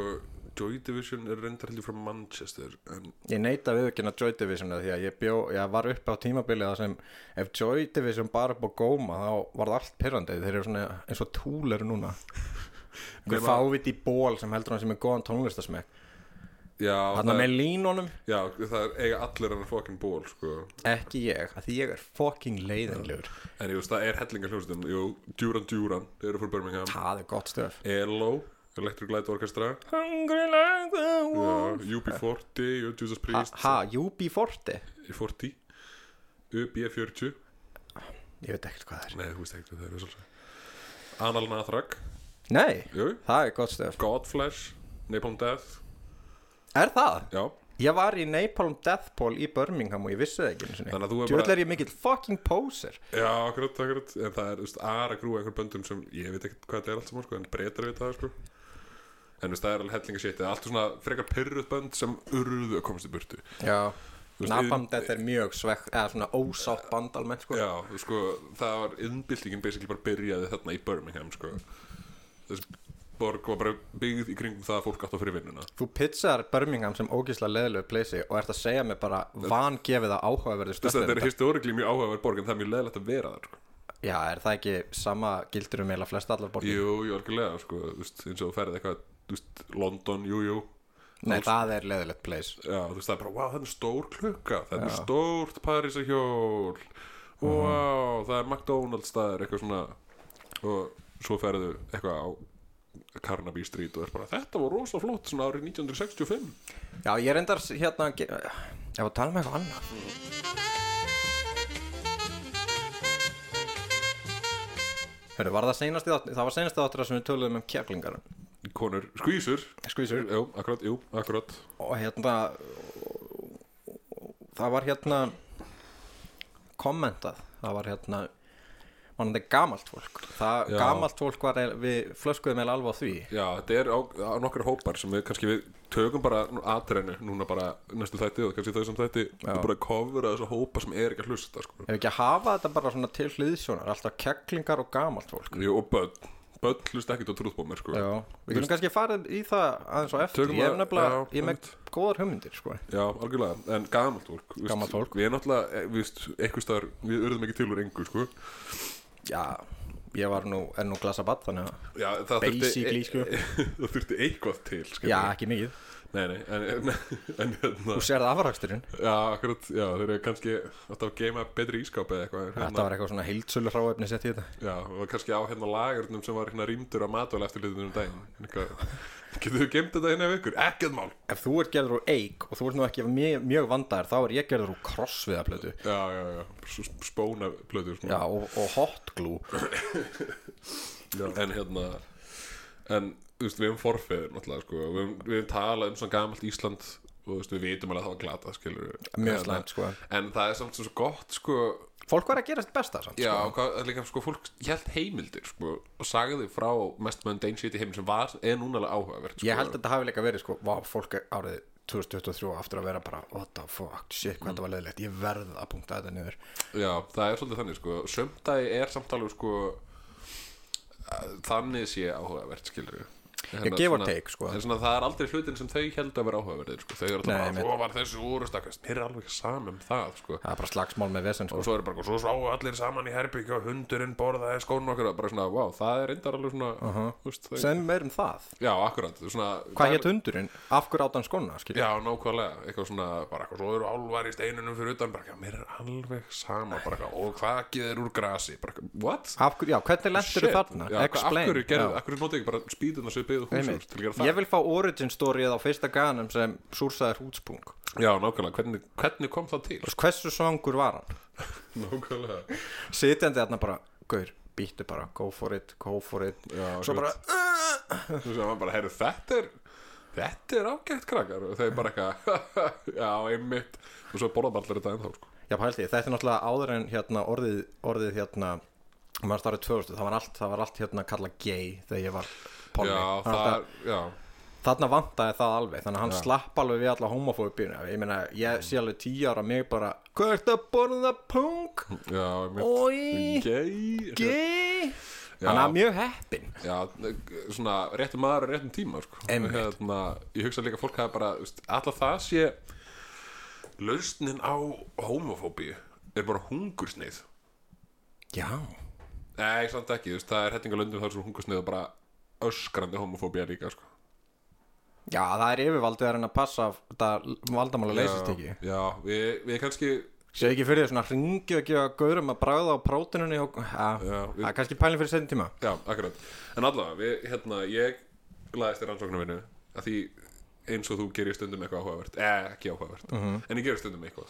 [SPEAKER 1] Joy Division er reyndar heldur frá Manchester en,
[SPEAKER 2] Ég neita við ekki að Joy Division af því að ég, bjó, ég var upp á tímabili það sem ef Joy Division bara upp á góma þá var það allt pyrrandi þeir eru svona eins og túl eru [LAUGHS] núna einhver
[SPEAKER 1] Nema-
[SPEAKER 2] fáviti ból sem heldur hann sem er góðan tónlistasmekk
[SPEAKER 1] Já,
[SPEAKER 2] hann
[SPEAKER 1] það,
[SPEAKER 2] með línunum
[SPEAKER 1] já, það er eiga allir hann fokkin ból, sko
[SPEAKER 2] ekki ég, af því ég er fucking leiðinlegur
[SPEAKER 1] En ég veist, það er hellingar hljómsveitin Jú, Duran Duran, þeir eru frá Birmingham
[SPEAKER 2] það er gott stöf
[SPEAKER 1] Elo, Electric Light Orchestra
[SPEAKER 2] Hungry like the
[SPEAKER 1] já,
[SPEAKER 2] wolf
[SPEAKER 1] UB40, jú, Jesus
[SPEAKER 2] Ha,
[SPEAKER 1] Priest
[SPEAKER 2] ha, UB40
[SPEAKER 1] 40 UB40
[SPEAKER 2] ég veit ekkert hvað það er
[SPEAKER 1] Nei, þú veist ekki, hvað það eru svolítið Anal Nathrak,
[SPEAKER 2] nei,
[SPEAKER 1] jú,
[SPEAKER 2] það er gott stöf
[SPEAKER 1] Godflesh Napalm Death,
[SPEAKER 2] er það?
[SPEAKER 1] já
[SPEAKER 2] Ég var í Napalm Death Poll í Birmingham og ég vissi það ekki
[SPEAKER 1] Þannig að þú er
[SPEAKER 2] Djöld
[SPEAKER 1] bara-
[SPEAKER 2] er ég mikill fucking poser
[SPEAKER 1] Já, akkurat, akkurat En það er, þú veist, aðra grúa einhver böndum sem Ég veit ekkert hvað þetta er allt saman, sko En breytar við það, sko En þú veist, það er alveg hellinga shit Það er alltaf svona frekar pyrruð bönd sem urðu að komast í burtu
[SPEAKER 2] Já
[SPEAKER 1] veist,
[SPEAKER 2] Napalm
[SPEAKER 1] iðn-
[SPEAKER 2] Death er mjög svekk eða svona ósátt band almennt sko
[SPEAKER 1] Já, þú sko, það var innbyltingin basically bara byrjaði þarna í Birmingham, sko Þessi borg var bara byggð í kringum það að fólk átt á fyrir vinnuna
[SPEAKER 2] Þú pitsar Birmingham sem ógísla leðilegu pleysi og ert að segja mér bara vangefið að áhugaverðu
[SPEAKER 1] Þess að þetta er
[SPEAKER 2] stöðnir
[SPEAKER 1] historikli mjög áhugaverð borg en það er mjög leðilegt að vera þar, sko
[SPEAKER 2] Já, er það ekki sama gildur um eila flest allar borgir?
[SPEAKER 1] Jú, jú, algjörlega, sko, þú veist, eins og þú ferð eitthvað, þú veist, London, jú, jú
[SPEAKER 2] Nei, það er leðilegt pleys
[SPEAKER 1] Já, þú veist það er bara, wow, það er stór klukka Það er stórt Parísahjól Wow, það er McDonalds staður Eitthvað svona Og svo ferðu eitthvað á Carnaby Street og er bara, þetta var rosa flott Svona árið 1965
[SPEAKER 2] Já, ég reyndar s- hérna að ge- Ég var að tala um eitthvað annað Hörru, var það seinast í þátt Það var seinast í þáttur sem við töluðum um keflingar
[SPEAKER 1] Konur, skvísur
[SPEAKER 2] Skvísur
[SPEAKER 1] Jú, akkurat, jú, akkurat
[SPEAKER 2] og hérna það var hérna kommentað það var hérna mannandi gamalt fólk það,
[SPEAKER 1] Já.
[SPEAKER 2] gamalt fólk var eil- við flöskuðum eða alveg á því
[SPEAKER 1] Já, þetta er á, á nokkra hópar sem við kannski við tökum bara atrennu núna bara næstu þætti og kannski þau sem þætti við bara kofra þessa hópa sem er ekki að hlusta sko.
[SPEAKER 2] ef ekki að hafa þetta bara svona til hliðsjónar alltaf keklingar og gamalt fólk
[SPEAKER 1] Jú, og börn, börn hlusta ekkert á trúðbómir sko.
[SPEAKER 2] Já, við getum kannski farið í það aðeins og eftir,
[SPEAKER 1] Tökum
[SPEAKER 2] ég er
[SPEAKER 1] það-
[SPEAKER 2] nefnilega
[SPEAKER 1] já,
[SPEAKER 2] ég er með góðar hugmyndir sko.
[SPEAKER 1] Já, algjörlega, en gamalt fólk víst,
[SPEAKER 2] Gamalt fólk.
[SPEAKER 1] Við erum náttúrulega, eh, víst, eitthvað staðar Við urðum ekki til úr engu, sko
[SPEAKER 2] Já, ég var nú, er nú glasa batt þannig að
[SPEAKER 1] Já, það [LAUGHS] þurfti,
[SPEAKER 2] Basically, sko.
[SPEAKER 1] Það þurfti eitthvað til, sko
[SPEAKER 2] Já, ekki mikið
[SPEAKER 1] Nei, nei, en, en, [LAUGHS] en hérna
[SPEAKER 2] Þú sér það afraksturinn
[SPEAKER 1] Já, akkurat, já, þeir eru kannski Þetta að geima betri ískáp eða eitthvað en hérna,
[SPEAKER 2] Þetta var eitthvað svona heildsölu hráefni sett í þetta
[SPEAKER 1] Já, og kannski á hérna lagurnum sem var hérna rýmdur á matvæl eftir litunum daginn
[SPEAKER 2] [LAUGHS]
[SPEAKER 1] Eitthvað, Getur þú geimt þetta hérna ef ykkur? Ekkert mál
[SPEAKER 2] Ef þú ert gerður úr eik og þú ert nú ekki mjög, mjög vandaðar þá er ég gerður úr krossviðablötu
[SPEAKER 1] Já, já, já, s- spóna plötur
[SPEAKER 2] Já, og, og hot glue
[SPEAKER 1] En hérna En, þú veist, við erum forfeður náttúrulega, sko Við erum, við erum talað um svona gamalt Ísland Og, þú veist, við vitum alveg að það var glata, skilur
[SPEAKER 2] Mjög slæmt, sko
[SPEAKER 1] En það er samt svo gott, sko
[SPEAKER 2] Fólk var að gera sitt besta samt
[SPEAKER 1] Já, og hvað, líka sko fólk held heimildir sko, og sagði frá mest mundane shit í heim sem var, er núna alveg áhugavert sko.
[SPEAKER 2] Ég held að þetta hafi líka verið sko Vá, fólk er árið 2023 aftur að vera bara What the fuck, shit, hvað þetta var leðilegt Ég verð að punkta þetta niður
[SPEAKER 1] Já, það er svolítið þannig sko sömdagi er samt alveg sko að- þannig sé áhugavert skilur við
[SPEAKER 2] Ég give or take, sko.
[SPEAKER 1] en svona, það er aldrei hlutin sem þau held að vera áhugaverðir sko. þau eru alltaf
[SPEAKER 2] Nei,
[SPEAKER 1] bara,
[SPEAKER 2] einmitt.
[SPEAKER 1] svo var þessi úrustakast mér er alveg saman um það sko.
[SPEAKER 2] Það er bara slagsmál með vesen sko
[SPEAKER 1] og svo er bara, eitthvað, svo sáu allir saman í herbyggju og hundurinn borðaði skónu okkur bara svona, wow, það er reyndar alveg svona uh úst, þau...
[SPEAKER 2] Sem meir um það
[SPEAKER 1] já, akkurat svona,
[SPEAKER 2] Hvað hétt hundurinn? Af hverju átt hann skóna, skilja?
[SPEAKER 1] Já, nákvæmlega, eitthvað svona, bara eitthvað, svo eru álvar í steinunum fyrir utan, bara eitthvað, mér er alveg sama, bara eitthvað, og hvað geður úr grasi, bara eitthvað, what?
[SPEAKER 2] Af hverju, já, hvernig lendur þú
[SPEAKER 1] Shit.
[SPEAKER 2] þarna?
[SPEAKER 1] Já, Explain Af hverju, gerðu,
[SPEAKER 2] já.
[SPEAKER 1] af hverju notu ekki bara spýtuna sem byggðu húsum til að gera
[SPEAKER 2] Einmitt.
[SPEAKER 1] það?
[SPEAKER 2] Ég vil fá origin storyið á fyrsta ganum sem súrsaðir hútspung
[SPEAKER 1] Já, nákvæmlega, hvernig, hvernig kom það til? [LAUGHS]
[SPEAKER 2] Hversu svangur var hann?
[SPEAKER 1] nákvæmlega
[SPEAKER 2] Sitjandi þarna bara, gaur, býttu bara Go for it, go for it
[SPEAKER 1] Já,
[SPEAKER 2] Svo bara,
[SPEAKER 1] Þú veist, maður bara, heyrðu, þetta er Þetta er ágætt krakkar og þau bara eitthvað [LAUGHS] Já, einmitt og svo borða bara allir þetta ennþá sko.
[SPEAKER 2] já pældi, ég, þetta er náttúrulega áður en hérna orðið, orðið hérna maður starfið 2000, það var allt, það var allt hérna kallað gay þegar ég var polni
[SPEAKER 1] Já,
[SPEAKER 2] Þannig að
[SPEAKER 1] Ah, það
[SPEAKER 2] þetta-
[SPEAKER 1] er, já
[SPEAKER 2] þarna vantaði það alveg þannig að hann slapp alveg við alla homofóbíuna ég meina, ég sé alveg tíu ára mig bara hvað ert að borða punk?
[SPEAKER 1] Já, einmitt
[SPEAKER 2] Oi,
[SPEAKER 1] Gay
[SPEAKER 2] gay
[SPEAKER 1] Já.
[SPEAKER 2] hann er mjög heppin
[SPEAKER 1] Já, svona réttum maður og réttum tíma sko.
[SPEAKER 2] Einmitt.
[SPEAKER 1] hérna, Ég hugsa líka að fólk hafa bara veist, Alla það sé Lausnin á homofóbíu Er bara hungursneið
[SPEAKER 2] já,
[SPEAKER 1] Nei, samt ekki, þú veist, það er hettingalöndum Það er svo hungursneið og bara öskrandi homofóbía líka sko.
[SPEAKER 2] já það er yfirvaldið að reyna að passa að þetta valdamála leysist ekki
[SPEAKER 1] Já, við, við kannski
[SPEAKER 2] sé ekki fyrir því svona hringið að gefa gaurum að bræða á prótuninu og
[SPEAKER 1] Já,
[SPEAKER 2] að,
[SPEAKER 1] við-
[SPEAKER 2] að kannski pælinn fyrir setjum tíma
[SPEAKER 1] Já, akkurat En allavega, við, hérna, ég laðist í rannsóknarvinnu að því eins og þú gerir stundum eitthvað áhugavert eh, ekki áhugavert,
[SPEAKER 2] Mhm.
[SPEAKER 1] en ég gerir stundum eitthvað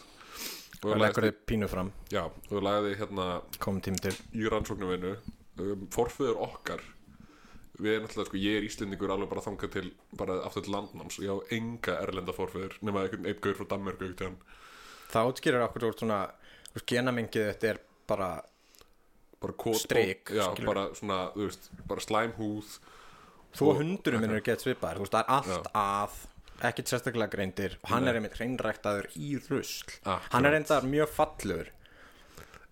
[SPEAKER 1] og
[SPEAKER 2] og
[SPEAKER 1] lagðist,
[SPEAKER 2] leggur þið pínu fram,
[SPEAKER 1] í- já, og lagði hérna
[SPEAKER 2] komum tími til
[SPEAKER 1] í rannsóknarvinnu um, forföður okkar við erum alltaf, sko, ég er Íslendingur alveg bara þangað til bara aftur til landnáms ég á enga erlenda forföður nema einhvern einn gaur frá Danmörku einhvern tímann.
[SPEAKER 2] það útskýrir okkur úr svona úr genamengið þetta er bara
[SPEAKER 1] bara kót
[SPEAKER 2] Strik,
[SPEAKER 1] já,
[SPEAKER 2] skilur.
[SPEAKER 1] bara svona, þú veist, bara slæmhúð
[SPEAKER 2] þú og hundurum minn eru gett svipaðir þú veist, það er allt að ekkert sérstaklega greindir og hann er einmitt hreinræktaður í rusl
[SPEAKER 1] Akkurat.
[SPEAKER 2] hann er reyndar mjög fallur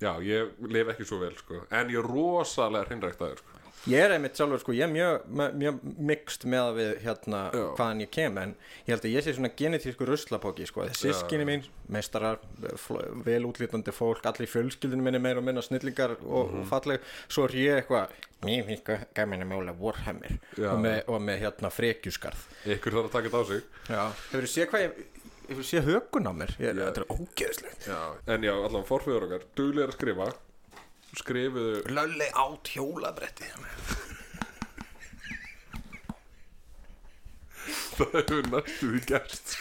[SPEAKER 1] já, ég lif ekki svo vel, sko en ég er rosalega hreinræktaður, sko
[SPEAKER 2] ég er einmitt sjálfur sko, ég er mjög, me- mjög mixt með að við hérna
[SPEAKER 1] Já.
[SPEAKER 2] hvaðan ég kem en ég held að ég sé svona genetísku ruslapóki sko, sískinni mín, meistarar fl- vel útlítandi fólk, allir í fjölskyldinu minni meira og minna snillingar og,
[SPEAKER 1] Mhm.
[SPEAKER 2] og falleg svo er ég eitthvað mér finnst gaman að mála vorhamir
[SPEAKER 1] Já.
[SPEAKER 2] og með, og með hérna frekjuskarð
[SPEAKER 1] ykkur þarf að taka þetta á sig
[SPEAKER 2] Já, hefur þú séð hvað ég Hefur þú séð hökun á mér? Ég,
[SPEAKER 1] Já.
[SPEAKER 2] Þetta er ógeðslegt
[SPEAKER 1] já. en já, allan forföður okkar, duglegir að skrifa skrifuðu
[SPEAKER 2] Lölli át hjólabretti
[SPEAKER 1] það hefur næstu því
[SPEAKER 2] [LAUGHS]
[SPEAKER 1] gerst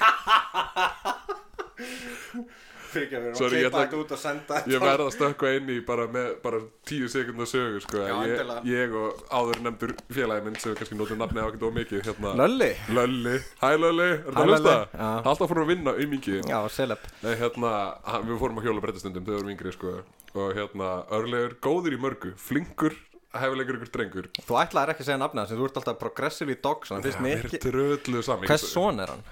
[SPEAKER 2] Fyrir ekki að vera
[SPEAKER 1] Sorry, ég ætla-
[SPEAKER 2] út og senda
[SPEAKER 1] ég verð að stökkva inn í bara með bara tíu sekundar sögu sko.
[SPEAKER 2] Já,
[SPEAKER 1] ég,
[SPEAKER 2] endilega.
[SPEAKER 1] ég og áður nefndur félagi minn sem við kannski notum nafni á ekkert of mikið hérna.
[SPEAKER 2] Lölli
[SPEAKER 1] Lölli, hæ Lölli, er
[SPEAKER 2] Hæ,
[SPEAKER 1] það hlusta?
[SPEAKER 2] Lölli, já.
[SPEAKER 1] Alltaf fórum að vinna um mingi
[SPEAKER 2] Já, seleb
[SPEAKER 1] Nei, hérna, hann- við fórum að hjóla breytastundum þegar við vorum yngri sko. og hérna, örlegur, góður í mörgu flinkur, hefilegur ykkur drengur
[SPEAKER 2] Þú ætlaðir ekki að segja nafnið hans en Þú ert alltaf progressive í dogs Þannig finnst mér
[SPEAKER 1] mér
[SPEAKER 2] ekki
[SPEAKER 1] dröðlu sami
[SPEAKER 2] Hvers son er hann?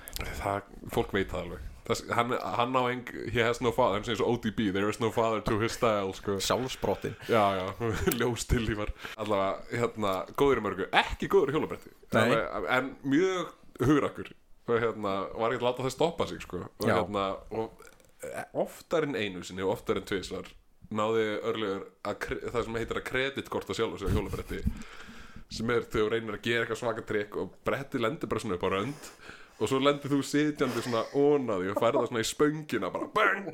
[SPEAKER 1] það, fólk veit það alveg Þess, hann, hann á eng, he has no father hann segir svo ODB, there is no father to his style sko.
[SPEAKER 2] Sjálfsbrotin
[SPEAKER 1] Já, [LAUGHS] já, ljóstillífar Allavega, hérna, góður í mörgu Ekki góður í hjólabretti
[SPEAKER 2] Nei.
[SPEAKER 1] Allavega, En mjög hugrakkur Og hérna, var ekki að láta það stoppa sig sko. Og
[SPEAKER 2] Já.
[SPEAKER 1] hérna, og e, oftar en einu sinni Og oftar en tvisvar Náði örlegur að, kre- það sem heitir að kreditkorta sjálf Sér hjólabretti Sem er þegar þú reynir að gera eitthvað svaka trikk Og bretti lendir bara svona upp á rönd og svo lendir þú sitjandi svona ónaði og færða svona í spöngina bara bang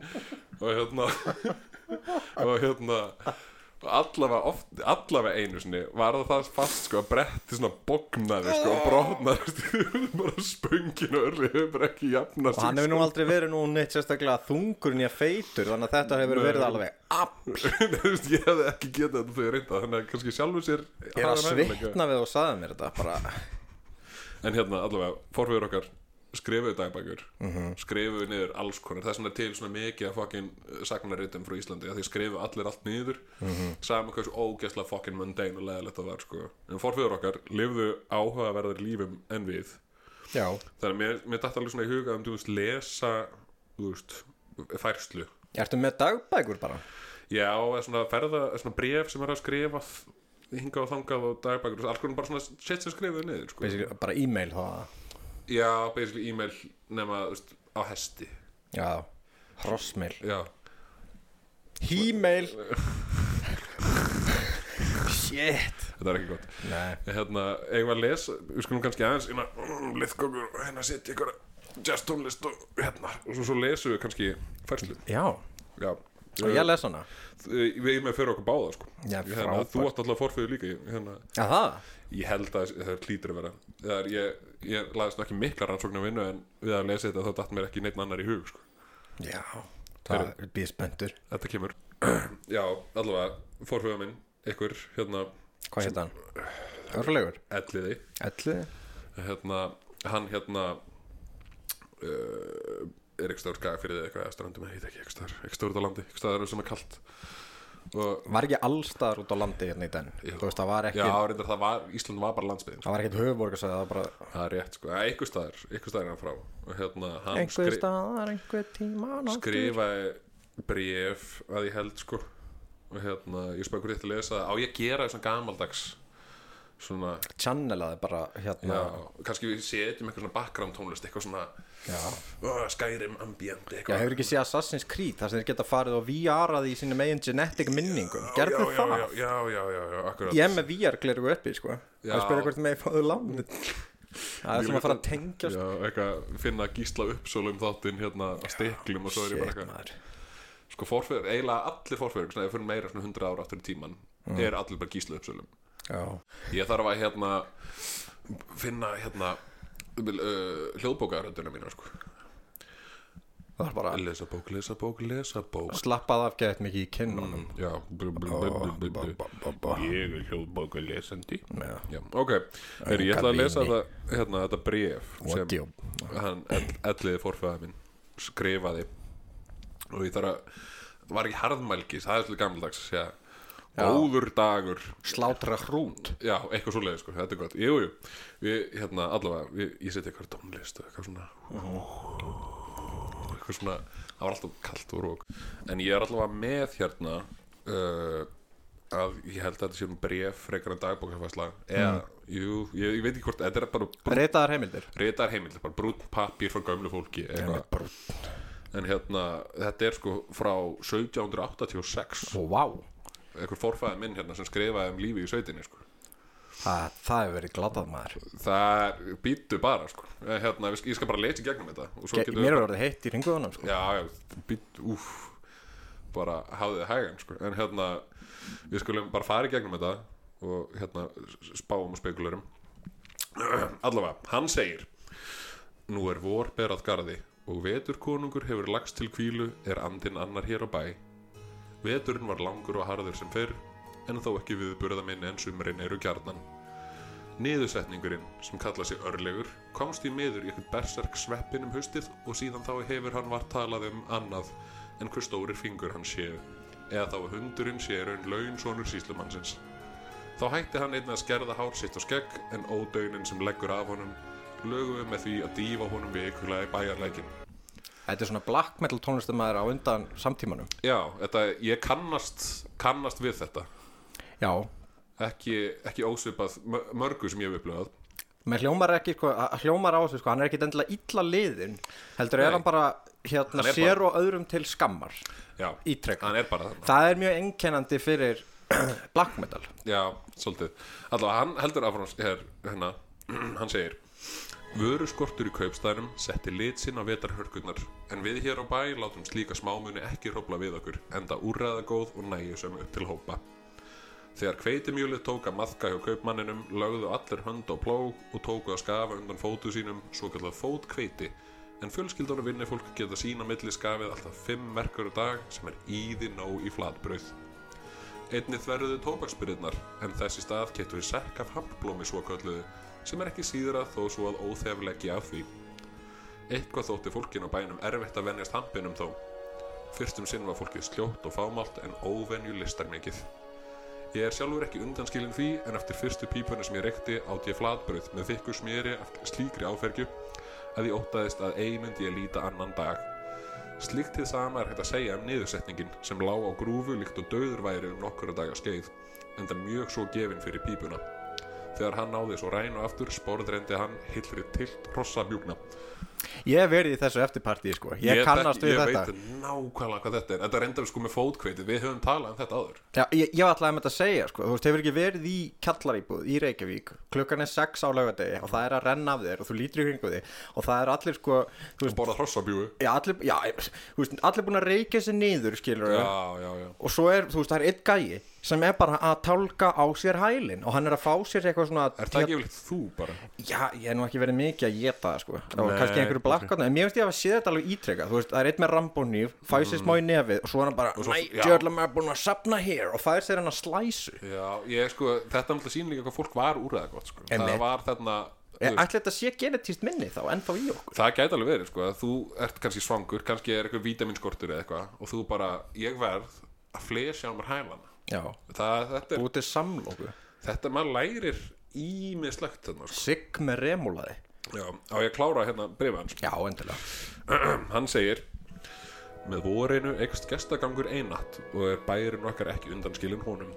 [SPEAKER 1] og hérna og hérna og allavega, oft, allavega einu sinni var það það fast sko að bretti svona bognaði sko og brotnaði sko, [LAUGHS] bara spöngin og örli hefur ekki jafnast
[SPEAKER 2] og hann hefur nú aldrei verið nú neitt sérstaklega þungur nýja feitur þannig að þetta hefur
[SPEAKER 1] Nei.
[SPEAKER 2] verið alveg
[SPEAKER 1] Nei, [LAUGHS] þú veist, ég hefði ekki getið þetta þegar ég reynda þannig að kannski sjálfur sér
[SPEAKER 2] ég er að
[SPEAKER 1] hafði hæfileika.
[SPEAKER 2] svitna við og sagði mér þetta bara,
[SPEAKER 1] en hérna allavega, forfeyður okkar skrifuðu dagbækur skrifuðu niður alls konar, það er svona til svona mikið að fokkin sagnaritum frá Íslandi að því skrifu allir allt niður mm -hmm. saman hversu ógeðslega fokkin mundane og leðalegt það var sko, en forfeyður okkar lifðu áhugaverðar lífum en við
[SPEAKER 2] já,
[SPEAKER 1] þannig að mér, mér dætti alveg svona í huga um þú veist, lesa þú veist, færslu
[SPEAKER 2] ertu með dagbækur bara
[SPEAKER 1] Já, eða svona ferða, eða svona bref sem er að skrifa hingað og þangað og dagbækur og alls konar bara svona shit sem skrifaði niður sko.
[SPEAKER 2] Basically, bara e-mail það
[SPEAKER 1] Já, basically e-mail nema þú veist, á hesti
[SPEAKER 2] já, hrossmail
[SPEAKER 1] Já,
[SPEAKER 2] e-mail shit
[SPEAKER 1] þetta er ekki gott
[SPEAKER 2] nei,
[SPEAKER 1] Hérna, eigum við að lesa, við skulum kannski aðeins hérna, mm, liðkokur og hérna setja ykkur jazz tónlist og hérna og svo, svo lesum við kannski færslu
[SPEAKER 2] já,
[SPEAKER 1] Já, Eh,
[SPEAKER 2] og ég les hana
[SPEAKER 1] Við erum með fyrir okkur báða sko
[SPEAKER 2] Já,
[SPEAKER 1] Ég, hérna,
[SPEAKER 2] frábært.
[SPEAKER 1] Þú átt alltaf forfeyðu líka ég- hérna,
[SPEAKER 2] já það,
[SPEAKER 1] Ég held að það er klítur að vera Það er, ég, ég laðist nú ekki mikla rannsóknum vinnu en við að lesa þetta þá datt mér ekki neitt annar í hug sko.
[SPEAKER 2] já það er bíðspendur
[SPEAKER 1] Þetta kemur [CLEARS THROAT] Já, allavega, forföðu minn, ykkur hérna,
[SPEAKER 2] hvað hétt hann? Örlegur
[SPEAKER 1] elliði
[SPEAKER 2] Ellu?
[SPEAKER 1] hérna, hann hérna uh, er ekki stór skaga fyrir þið eitthvað eða strandum, ég heit ekki ekki stór ekki stór út á landi, ekki stór sem er kalt og
[SPEAKER 2] Var ekki allstaðar út á landi hérna í den
[SPEAKER 1] Jú.
[SPEAKER 2] Þú veist, það var
[SPEAKER 1] já,
[SPEAKER 2] ekki
[SPEAKER 1] reyndar það var, Ísland var bara landsbyðin
[SPEAKER 2] Það var ekkert höfuborgarsæði, það var bara
[SPEAKER 1] það er rétt, sko, eitthvað staðar eitthvað staðar er hann frá og hérna, hann
[SPEAKER 2] einhver
[SPEAKER 1] skri-
[SPEAKER 2] staðar, einhver tíma
[SPEAKER 1] skrifaði bref að ég held sko og hérna, ég spæði hvort ég ætti að lesa það á ég að gera þessum gamaldags svona,
[SPEAKER 2] Channelaði bara
[SPEAKER 1] já,
[SPEAKER 2] hérna
[SPEAKER 1] kannski við setjum eitthvað svona background tónlist, eitthvað svona
[SPEAKER 2] Já,
[SPEAKER 1] uh, skyrim ambient
[SPEAKER 2] já
[SPEAKER 1] eitthvað
[SPEAKER 2] hefur ekki séð Assassin's Creed þar sem þeir geta farið og VR-aði í sínum eigin genetic minningum Gerðu
[SPEAKER 1] já, já,
[SPEAKER 2] það
[SPEAKER 1] já, já, já, já, akkurat
[SPEAKER 2] Ég er með VR-gleru uppi, sko
[SPEAKER 1] Já.
[SPEAKER 2] Það spyrir hvort með fáðu láni Það er svona að fara að tengja sko.
[SPEAKER 1] Já, eitthvað, finna gísla uppsólum þáttinn hérna að steklum og svo er ég bara eitthvað
[SPEAKER 2] maður
[SPEAKER 1] Sko forfeður, eiginlega allir forfeður, svona ef við fyrir meira svona 100 ára aftur í tíman,
[SPEAKER 2] Mm.
[SPEAKER 1] er allir bara gísla uppsölum
[SPEAKER 2] Já,
[SPEAKER 1] Ég þarf að hérna finna hérna uh, hljóðbókaröndina mína sko.
[SPEAKER 2] það var bara
[SPEAKER 1] Lesa bók, lesa bók, lesa bók
[SPEAKER 2] slappað af gett mikið í kinnunum
[SPEAKER 1] Já blu, blu, blu, blu, blu, blu. Ég er hljóðbóka lesandi
[SPEAKER 2] Já.
[SPEAKER 1] Já, ok, er, ég ætla að
[SPEAKER 2] Aukavíni.
[SPEAKER 1] lesa það, hérna, þetta bref
[SPEAKER 2] What you-
[SPEAKER 1] hann ell- elliði forfæða minn skrifaði og ég þarf að var ekki harðmælgis, það er svolítið gammaldags já. Óður dagur
[SPEAKER 2] Slátra hrút
[SPEAKER 1] Já, eitthvað svoleiði sko, þetta er gott Jú, jú, við, hérna, allavega við, Ég seti eitthvað tónlist og eitthvað svona Eitthvað svona Það var alltaf kalt og rók En ég er allavega með hérna uh, að ég held að þetta sé um bref frekar en dagbókafæsla eða, jú, ég, ég veit ekki hvort þetta er bara brú,
[SPEAKER 2] Ritaðar heimildir
[SPEAKER 1] reytar heimild, bara brún pappír frá gömlu fólki eitthvað. en hérna, þetta er sko frá 1786
[SPEAKER 2] Ó, vá
[SPEAKER 1] eitthvað forfæði minn hérna sem skrifaði um lífi í sveitinni sko.
[SPEAKER 2] Það, það hefur verið glatað maður
[SPEAKER 1] það býtu bara sko. Eh, hérna, við- ég skal bara leta í gegnum þetta og svo
[SPEAKER 2] Ge
[SPEAKER 1] getum
[SPEAKER 2] Mér
[SPEAKER 1] við
[SPEAKER 2] er orðið heitt í ringuðunum sko.
[SPEAKER 1] já, já, býtu, úf bara hafðið hægan sko. en hérna, við skulum bara fara í gegnum þetta og hérna s- spáum og spekulurum [CLEARS THROAT] allavega, hann segir nú er vor berað garði og veturkonungur hefur lagst til kvílu er andinn annar hér á bæ veturinn var langur og harður sem fyrr en þó ekki viðburða minni en sumurinn eru kjarnan Niðursetningurinn, sem kalla sig örlegur, komst í miður í eitthvað berserk sveppin um haustið og síðan þá hefur hann vart talað um annað en hver stórir fingur hann séu, eða þá að hundurinn sé í raun laun sonur síslumannsins. Þá hætti hann einnig að skerða hár sitt og skegg en ódaunin sem leggur af honum lögum við með því að dýfa honum vikulega í bæjarleikin.
[SPEAKER 2] Þetta er svona black metal tónlistamæður á undan samtímanum
[SPEAKER 1] Já, þetta, ég kannast, kannast við þetta.
[SPEAKER 2] Já,
[SPEAKER 1] Ekki, ekki ósvipað mö- mörgu sem ég hef upplöðað.
[SPEAKER 2] með hljómar ekki sko, að- að hljómar á þessu sko, hann er ekki endilega illa liðin heldur
[SPEAKER 1] Nei.
[SPEAKER 2] er hann bara hérna,
[SPEAKER 1] Hann er
[SPEAKER 2] sér
[SPEAKER 1] bara-
[SPEAKER 2] og öðrum til skammar
[SPEAKER 1] Já,
[SPEAKER 2] Ítrekka.
[SPEAKER 1] hann er bara þarna.
[SPEAKER 2] Það er mjög einkennandi fyrir [CLEARS THROAT] black metal
[SPEAKER 1] Já, svolítið Allavega, [CLEARS THROAT] hann heldur áfram hér, hérna, hann segir Vöruskortur í kaupstæðnum setti lit sinn á vetarhörkurnar, en við hér á bæ látum slíka smámuni ekki hrópla við okkur, enda úrræðagóð og nægjusöm upp til hópa. Þegar hveitimjúlið tók að maðka hjá kaupmanninum, lögðu allir hönd á plóg og tóku að skafa undan fótu sínum, svo kallað fótkveiti, en fjölskyldar og vinnifólk geta sína milli skafið alltaf 5 merkur á dag sem er íði nóg í flatbrauð. Einni þverjuðu tóbaksbyrðirnar, en þess í stað getur við sekk af hampblómi svo kölluðu, sem er ekki síður að þó svo að óþefleggi af því. Eitthvað þótti fólkin á bænum erfitt að venjast hampinum þó. Fyrstum sinn var fólkið sljótt og fámált en óvenju listarmikið. Ég er sjálfur ekki undanskilin því en eftir fyrstu pípunni sem ég reykti átt ég flatbröð með þykku smjöri af slíkri áfergju að ég óttaðist að ei myndi ég líta annan dag. Slíkt hið sama er hægt að segja um niðursetningin sem lá á grúfu líkt og döður væri um nokkura daga skeið, enda mjög svo gefin fyrir pípuna. Þegar hann náði svo rænu aftur, sporðrendi hann hillri tilt rossa mjúkna.
[SPEAKER 2] Ég hef verið í þessu eftirparti sko. Ég, kannast
[SPEAKER 1] þekki-
[SPEAKER 2] við
[SPEAKER 1] ég
[SPEAKER 2] þetta
[SPEAKER 1] veit nákvæmlega hvað þetta er. Þetta reyndar við sko með fótkveitið, við höfum talað um þetta áður.
[SPEAKER 2] Já, ég, ég var alltaf að mynda að segja sko, þú veist, hefur ekki verið í kjallaríbúð í Reykjavík klukkan er 6 á laugardegi og það er að renna af þér og þú lítur í kringu því og það er allir sko, þú veist,
[SPEAKER 1] Borða hrossabjúi.
[SPEAKER 2] já, allir, já, ég- þú veist, allir búin að reykja sér niður skilur
[SPEAKER 1] Já, já, já.
[SPEAKER 2] og svo er, þú veist, það er einn gæi sem er bara að tálka á sér hælin og hann er að fá sér eitthvað svona
[SPEAKER 1] Er það ekki yfirleitt þú bara?
[SPEAKER 2] Já, ég hef nú ekki verið mikið að geta það sko og
[SPEAKER 1] Nei,
[SPEAKER 2] kannski einhverju blakkarna, en mér finnst ég að séð þetta alveg ítrekka þú veist, það er einn með rambónýf, fær sér smá í nefið og svo er hann bara,
[SPEAKER 1] Mm. svo-
[SPEAKER 2] næ,
[SPEAKER 1] já.
[SPEAKER 2] djöðlega maður er búin að sapna hér og fær sér hann að slæsu
[SPEAKER 1] Já, ég sko, þetta er alltaf sýnleika hvað fólk var úrraða gott, sko.
[SPEAKER 2] Einmitt.
[SPEAKER 1] Það var þarna... þú
[SPEAKER 2] Ég,
[SPEAKER 1] veist,
[SPEAKER 2] ætli þetta sé genetíst minni þá, ennþá í okkur
[SPEAKER 1] Það gæti alveg verið, sko, að þú ert kannski svangur, kannski er eitthvað vídaminskortur eða eitthvað og þú bara, ég verð að flesja á mér hælan.
[SPEAKER 2] Já,
[SPEAKER 1] Það, þetta er,
[SPEAKER 2] búið til samlóku
[SPEAKER 1] þetta, maður lærir ímislegt þarna, sko.
[SPEAKER 2] Sigg með remúlaði
[SPEAKER 1] Já, á ég að klára hérna breyfa hans.
[SPEAKER 2] Já, endilega
[SPEAKER 1] [CLEARS THROAT] Hann segir Með vorinu ekst gestagangur einatt og er bærin okkar ekki undanskilin honum.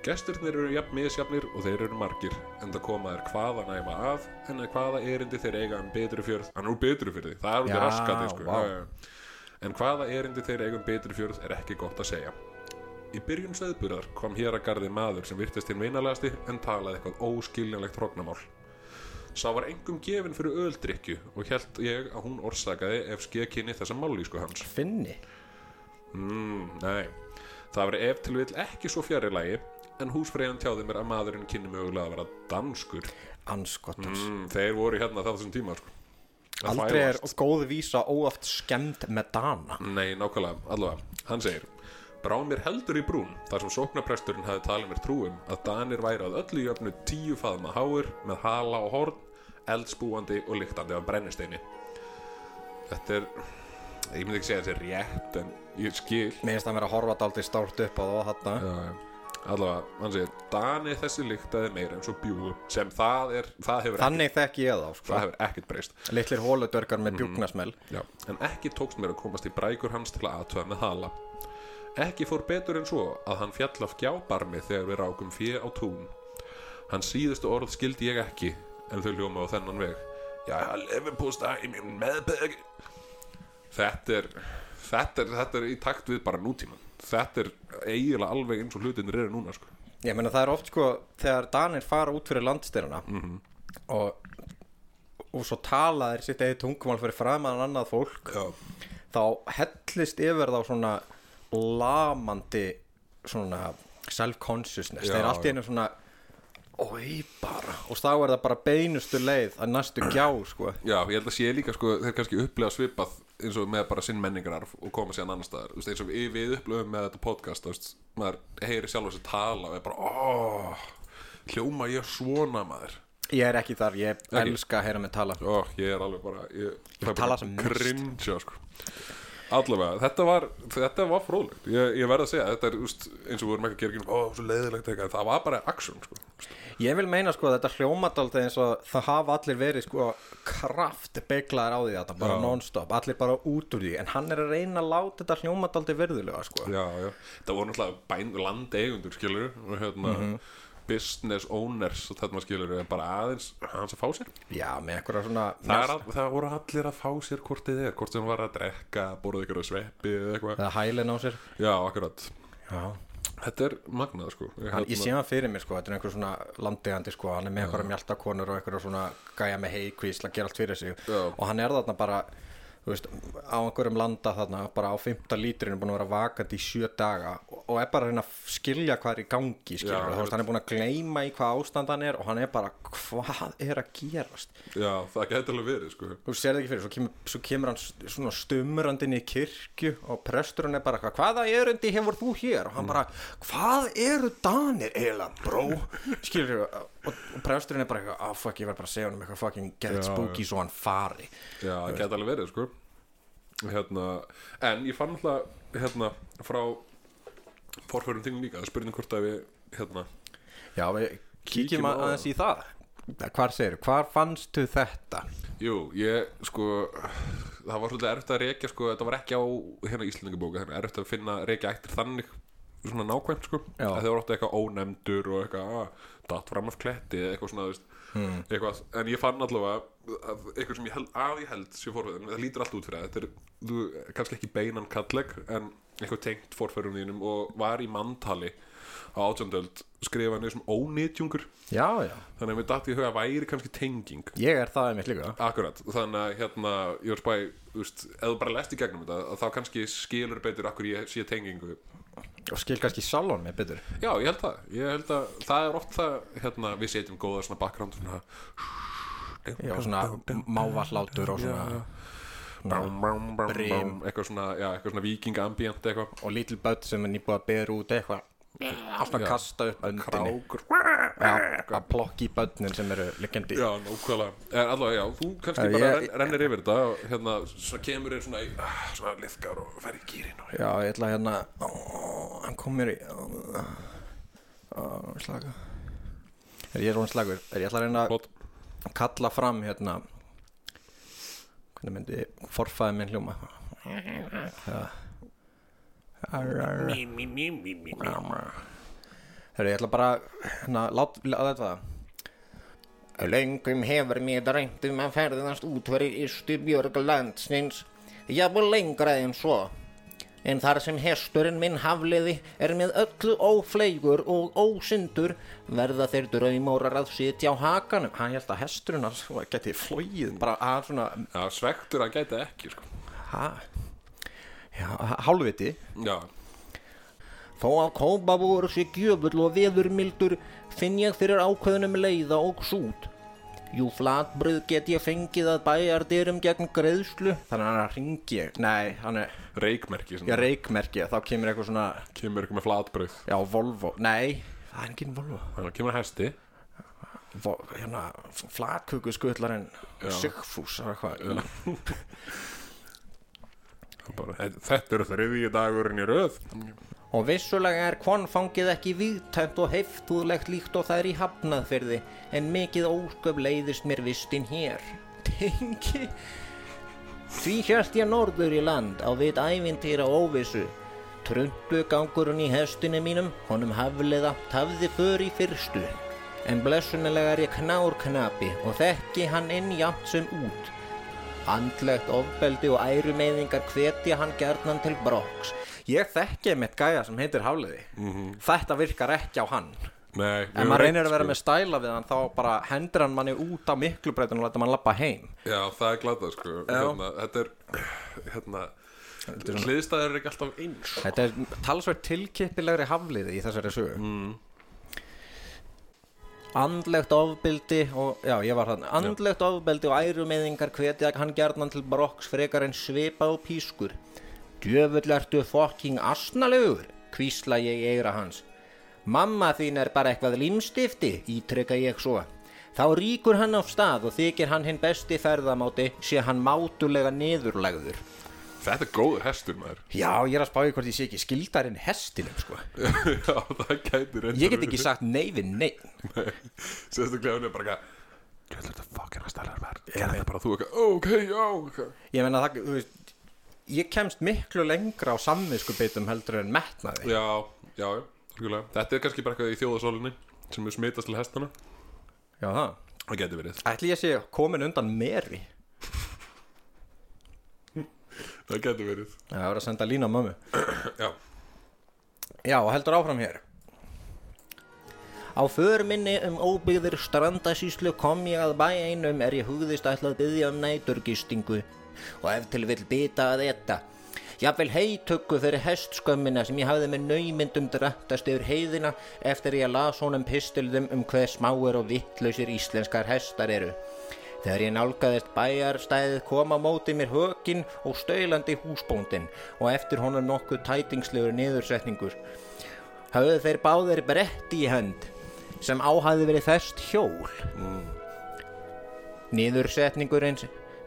[SPEAKER 1] Gestirnir eru jafn misjafnir og þeir eru margir, en það koma þeir hvaða næma að, en að hvaða erindi þeir eiga um betri fjörð, hann er úr betri fjörði, það er út í
[SPEAKER 2] Já,
[SPEAKER 1] raskati, sko.
[SPEAKER 2] vá.
[SPEAKER 1] Já, já, já. En hvaða erindi þeir eiga um betri fjörð er ekki gott að segja. Í byrjun sveðburðar kom hér að garði maður sem virtist hinn vinalegasti en talaði eitthvað óskiljanlegt hrognamál. Sá var engum gefin fyrir öldrykju og held ég að hún orsakaði ef skekinni þessa mállísku hans.
[SPEAKER 2] Finni
[SPEAKER 1] Mm, nei, það var ef til vill ekki svo fjari lagi en húsfreyjan tjáði mér að maðurinn kynni mögulega að vera danskur.
[SPEAKER 2] Anskotans
[SPEAKER 1] Mm, þeir voru hérna þá þessum tíma, sko. Að
[SPEAKER 2] Aldrei er
[SPEAKER 1] þvælast.
[SPEAKER 2] góð vísa óaft skemmt með dana
[SPEAKER 1] Nei, nákvæmlega, allavega, hann segir Brá mér heldur í brún þar sem sóknapresturinn hafði talið mér trúum að Danir væri að öllu jöfnu tíu faðma háir með hala og horn, eldspúandi og lyktandi af brennisteini Þetta er, ég myndi ekki segja þetta er rétt en ég skil
[SPEAKER 2] Mér finnst það mér að horfa dálítið stórt upp á það þarna
[SPEAKER 1] Já, allavega, hann segir Dani þessi lyktaði meira en svo bjúgu sem það er, það hefur, ekki,
[SPEAKER 2] Þannig þekki ég þá, sko
[SPEAKER 1] það hefur ekkert breyst
[SPEAKER 2] Litlir hóludörgar
[SPEAKER 1] Mm.
[SPEAKER 2] með bjúknasmell
[SPEAKER 1] Já, en ekki tókst mér að komast í brækur hans til að aðtöða með hala. Ekki fór betur en svo að hann fjall af gjábarmi þegar við rákum fjö á tún. Hans síðustu orð skildi ég ekki, en þau hljóma á þennan veg. Já, ég lefi pústa í mjög meðbeg. Þetta er, þetta er, þetta er í takt við bara nútíman. Þetta er eiginlega alveg eins og hlutinir eru núna, sko.
[SPEAKER 2] Ég meina það er oft sko þegar Danir fara út fyrir landstyruna
[SPEAKER 1] Mhm.
[SPEAKER 2] og, og svo tala þeir sitt eigið tungumál fyrir framan annað fólk
[SPEAKER 1] Já.
[SPEAKER 2] þá hellist yfir þá svona lamandi svona self-consciousness
[SPEAKER 1] Já,
[SPEAKER 2] þeir allt í
[SPEAKER 1] já.
[SPEAKER 2] einu svona oi bara og þá er það bara beinustu leið að næstu gjá sko
[SPEAKER 1] Já, ég held að sé líka sko, þeir kannski upplega svipað eins og með bara sinn menningararf og koma síðan annar staðar, þú veist, eins og við, við upplöfum með þetta podcast, þú veist, maður heyri sjálf þessi tala og er bara, óh hljóma ég svona maður
[SPEAKER 2] Ég er ekki þar, ég elska að heyra mig tala
[SPEAKER 1] ó, ég er alveg bara ég, ég
[SPEAKER 2] tala sem mest.
[SPEAKER 1] cringe, sko allavega, þetta var, þetta var fróðlegt ég, ég verð að segja, þetta er, þú veist, eins og við vorum ekki að gera ekki, ó, svo leiðilegt eitthvað, það var bara action, sko,
[SPEAKER 2] Ég vil meina sko að þetta hljómadaldið eins og það hafa allir verið sko kraft beiglaðar á því þetta
[SPEAKER 1] Já.
[SPEAKER 2] bara non-stop, allir bara út úr því en hann er að reyna að láta þetta hljómadaldið virðulega sko
[SPEAKER 1] já, já. það voru náttúrulega bæn, landeigundur skilur og hérna
[SPEAKER 2] Mhm.
[SPEAKER 1] business owners þarna skilur en bara aðeins hans að fá sér
[SPEAKER 2] Já, með einhverja svona
[SPEAKER 1] það, er, all- það voru allir að fá sér hvort þið er hvort sem var að drekka, borða ykkur að sveppi eða eitthvað
[SPEAKER 2] eða hælin á sér
[SPEAKER 1] já, akkurat
[SPEAKER 2] Já,
[SPEAKER 1] Þetta er magnað sko
[SPEAKER 2] Hann, ég sé hann fyrir mér sko, þetta er einhver svona landeigandi sko, hann er með einhverja mjaltakonur og einhverja svona gæja með heikvísl að gera allt fyrir sig
[SPEAKER 1] Já.
[SPEAKER 2] og hann er þarna bara þú veist, á einhverjum landa þarna bara á 15 lítrinu búin að vera vakandi í sjö daga og, og er bara að reyna að skilja hvað er í gangi skilja,
[SPEAKER 1] Já,
[SPEAKER 2] þú veist, hann er búin að gleyma í hvað ástand hann er og hann er bara, hvað er að gerast
[SPEAKER 1] Já, það gæti alveg verið sko
[SPEAKER 2] þú sér það ekki fyrir, svo kemur, svo kemur hann st- svona stumrandi inn í kirkju og presturinn er bara, eitthvað, hvaða erundi hefur þú hér? og hann bara, hvað eru danir eiginlega, bró? skilur þau, og, og presturinn er bara eitthvað, ah fuck, ég verð bara að segja honum eitthvað fucking get
[SPEAKER 1] Já,
[SPEAKER 2] spooky svo hann fari
[SPEAKER 1] Já, það gæti alveg verið sko hérna, En ég fann alltaf hérna, frá forförum þingum líka, það er spurning hvort að við hérna,
[SPEAKER 2] já, við kíkjum
[SPEAKER 1] Kíkjum á
[SPEAKER 2] að- aðeins í það hvar segir, hvar fannstu þetta?
[SPEAKER 1] Jú, ég sko það var svolítið erfitt að rekja sko þetta var ekki á hérna Íslandingabóka þannig erfitt að finna rekja ættir þannig svona nákvæmt sko,
[SPEAKER 2] Já.
[SPEAKER 1] að þau voru óttu eitthvað ónefndur og eitthvað að, datt fram af kletti eða eitthvað svona, þú veist hmm. eitthvað, en ég fann allavega að eitthvað sem ég held, að ég held sér forfæðin, það lítur allt út fyrir það þetta er, þú, kannski ekki beinan kalleg en eitthvað tengt forfærum þínum og var í manntali á átjöndöld skrifa niður sem ónýtjungur
[SPEAKER 2] já, já,
[SPEAKER 1] þannig að mér datt í hug að væri kannski tenging
[SPEAKER 2] ég er það einmitt líka
[SPEAKER 1] Akkurat, þannig að hérna ég var spæði, þú veist, ef þú bara lest í gegnum þetta að þá kannski skilur betur akkur ég sé tengingu.
[SPEAKER 2] og skil kannski salon með betur
[SPEAKER 1] Já, ég held það ég held að það er oft það, hérna við setjum góða svona bakgránd svona,
[SPEAKER 2] já, svona mávallátur og svona
[SPEAKER 1] bám, bám, bám, bám,
[SPEAKER 2] Mm. Brim.
[SPEAKER 1] eitthvað svona, já, eitthvað svona vikingambíant eitthvað,
[SPEAKER 2] og lítil börn sem er nýbúið að bera út eitthvað alltaf kasta upp öndinni
[SPEAKER 1] krákur
[SPEAKER 2] Já, að plokki í börnin sem eru liggjandi
[SPEAKER 1] Já, nákvæmlega, en allavega, já, þú kannski
[SPEAKER 2] Já,
[SPEAKER 1] bara
[SPEAKER 2] ég-
[SPEAKER 1] renn, rennir yfir þetta og hérna, svona kemur þér svona, í- ah, svona liðkar og fer í gýrin og
[SPEAKER 2] Já, ég ætla hérna ó, hann kom mér í ó, ó, slaka er ég er svona slagur er ég ætla að reyna
[SPEAKER 1] Flott.
[SPEAKER 2] að kalla fram hérna hvernig myndi forfæði minn hljóma Herru, ég ætla bara hérna, lát, lát, lát það
[SPEAKER 5] Löngum hefur mér reynt um að ferðast út fyrir ystu björg landsins, jafnvel lengra en svo. En þar sem hesturinn minn hafliði er með öllu ófleigur og ósyndur, verða þeir draumórar að sitja á hakanum.
[SPEAKER 2] hann held að hesturinn hans geti flóið bara að svona
[SPEAKER 1] Já, svektur að gæta ekki, sko
[SPEAKER 2] ha, já, hálfviti
[SPEAKER 1] Já,
[SPEAKER 5] Þó að kópabúur sé gjöfull og veðurmildur finn ég fyrir ákveðnum leiða og sút. Jú flatbröð get ég fengið að bæjardyrum gegn greiðslu.
[SPEAKER 2] þannig að hann ringi nei, hann er
[SPEAKER 1] reikmerki,
[SPEAKER 2] já,
[SPEAKER 1] svona,
[SPEAKER 2] reikmerki þá kemur eitthvað svona
[SPEAKER 1] kemur eitthvað með flatbrauð
[SPEAKER 2] já, Volvo nei, það er engin Volvo
[SPEAKER 1] Þannig að kemur að hesti
[SPEAKER 2] Vo, hérna, flatköku skutlarinn Sigfús eða eitthvað
[SPEAKER 1] Og bara, "Þetta- Þetta eru þriðji dagurinn í röð
[SPEAKER 5] Og vissulega er konfangið ekki víðtæmt og heftúðlegt líkt og það er í hafnaðferði, en mikið ósköp leiðist mér vistin hér. [LAUGHS] Tengi? Því hérst ég norður í land á vit ævintýra og óvissu. Trundu gangurinn í hestinu mínum, honum hafliða, tafði för í fyrstu. En blessunilega er ég knár knapi og þekki hann inn jafnt sem út. Andlegt ofbeldi og ærumeyðingar hvetja hann gjarnan til broks,
[SPEAKER 2] ég þekki með gæja sem heitir Hafliði þetta virkar ekki á hann
[SPEAKER 1] Nei, við
[SPEAKER 2] ef
[SPEAKER 1] höfum
[SPEAKER 2] maður reynir
[SPEAKER 1] reynt,
[SPEAKER 2] að vera
[SPEAKER 1] sko.
[SPEAKER 2] með stæla við hann þá bara hendur hann manni út á miklu breytun og lætur mann lappa heim
[SPEAKER 1] Já, það er glatað sko hérna, Þetta er hérna, Hliðstæður er ekki alltaf eins
[SPEAKER 2] þetta er talsvert tilkippilegri Hafliði í þessari sögu
[SPEAKER 5] Andlegt ofbeldi og, já ég var þannig, andlegt ofbeldi og ærumeðingar hvetja hann gjarnan til broks frekar en svipa og pískur. Djöfull ertu fokking asnalegur, hvísla ég í eira hans. Mamma þín er bara eitthvað límstifti, ítrekka ég svo. Þá ríkur hann af stað og þykir hann hinn besti ferðamáti sé hann mátulega niðurlegður.
[SPEAKER 1] Þetta er góður hestur maður
[SPEAKER 2] já, ég er að spáði hvort ég sé ekki skildarinn hestinum sko.
[SPEAKER 1] [LAUGHS] Já, það gæti reyndar
[SPEAKER 2] ég get ekki sagt nei við nei
[SPEAKER 1] Sérstaklega hún er bara eitthvað Gjöldar þetta fokkin að stæla verð Gerða þetta bara þú eitthvað "Ó, Ok, já okay.
[SPEAKER 2] ég menna það, þú veist ég kemst miklu lengra á samvisku beitum heldur en metnaði
[SPEAKER 1] Já, já, já algjörlega. Þetta er kannski bara eitthvað í þjóðasólinni sem er smitast til hestana
[SPEAKER 2] já það
[SPEAKER 1] Það gæti verið
[SPEAKER 2] ætli ég sé komin undan meri
[SPEAKER 1] Það gæti verið
[SPEAKER 2] það voru að senda lína á mömmu
[SPEAKER 1] Já
[SPEAKER 6] Já, heldur áfram hér
[SPEAKER 2] Á för minni um óbyggðir strandasýslu kom ég að bæ einum er ég hugðist ætla að byggja um næturgistingu og ef til vill bita að etta. Jafnvel heitökku fyrir hestskömmina sem ég hafði með naumyndum drattast yfir heiðina eftir ég las honum pistildum um hver smáir og vittlausir íslenskar hestar eru. Þegar ég nálgaðist bæjarstæðið kom á móti mér hökin og stöylandi húsbóndin og eftir honum nokkuð tætingslegur niðursetningur hafðu þeir báðir bretti í hönd sem áhæði verið þest hjól. Nýðursetningurinn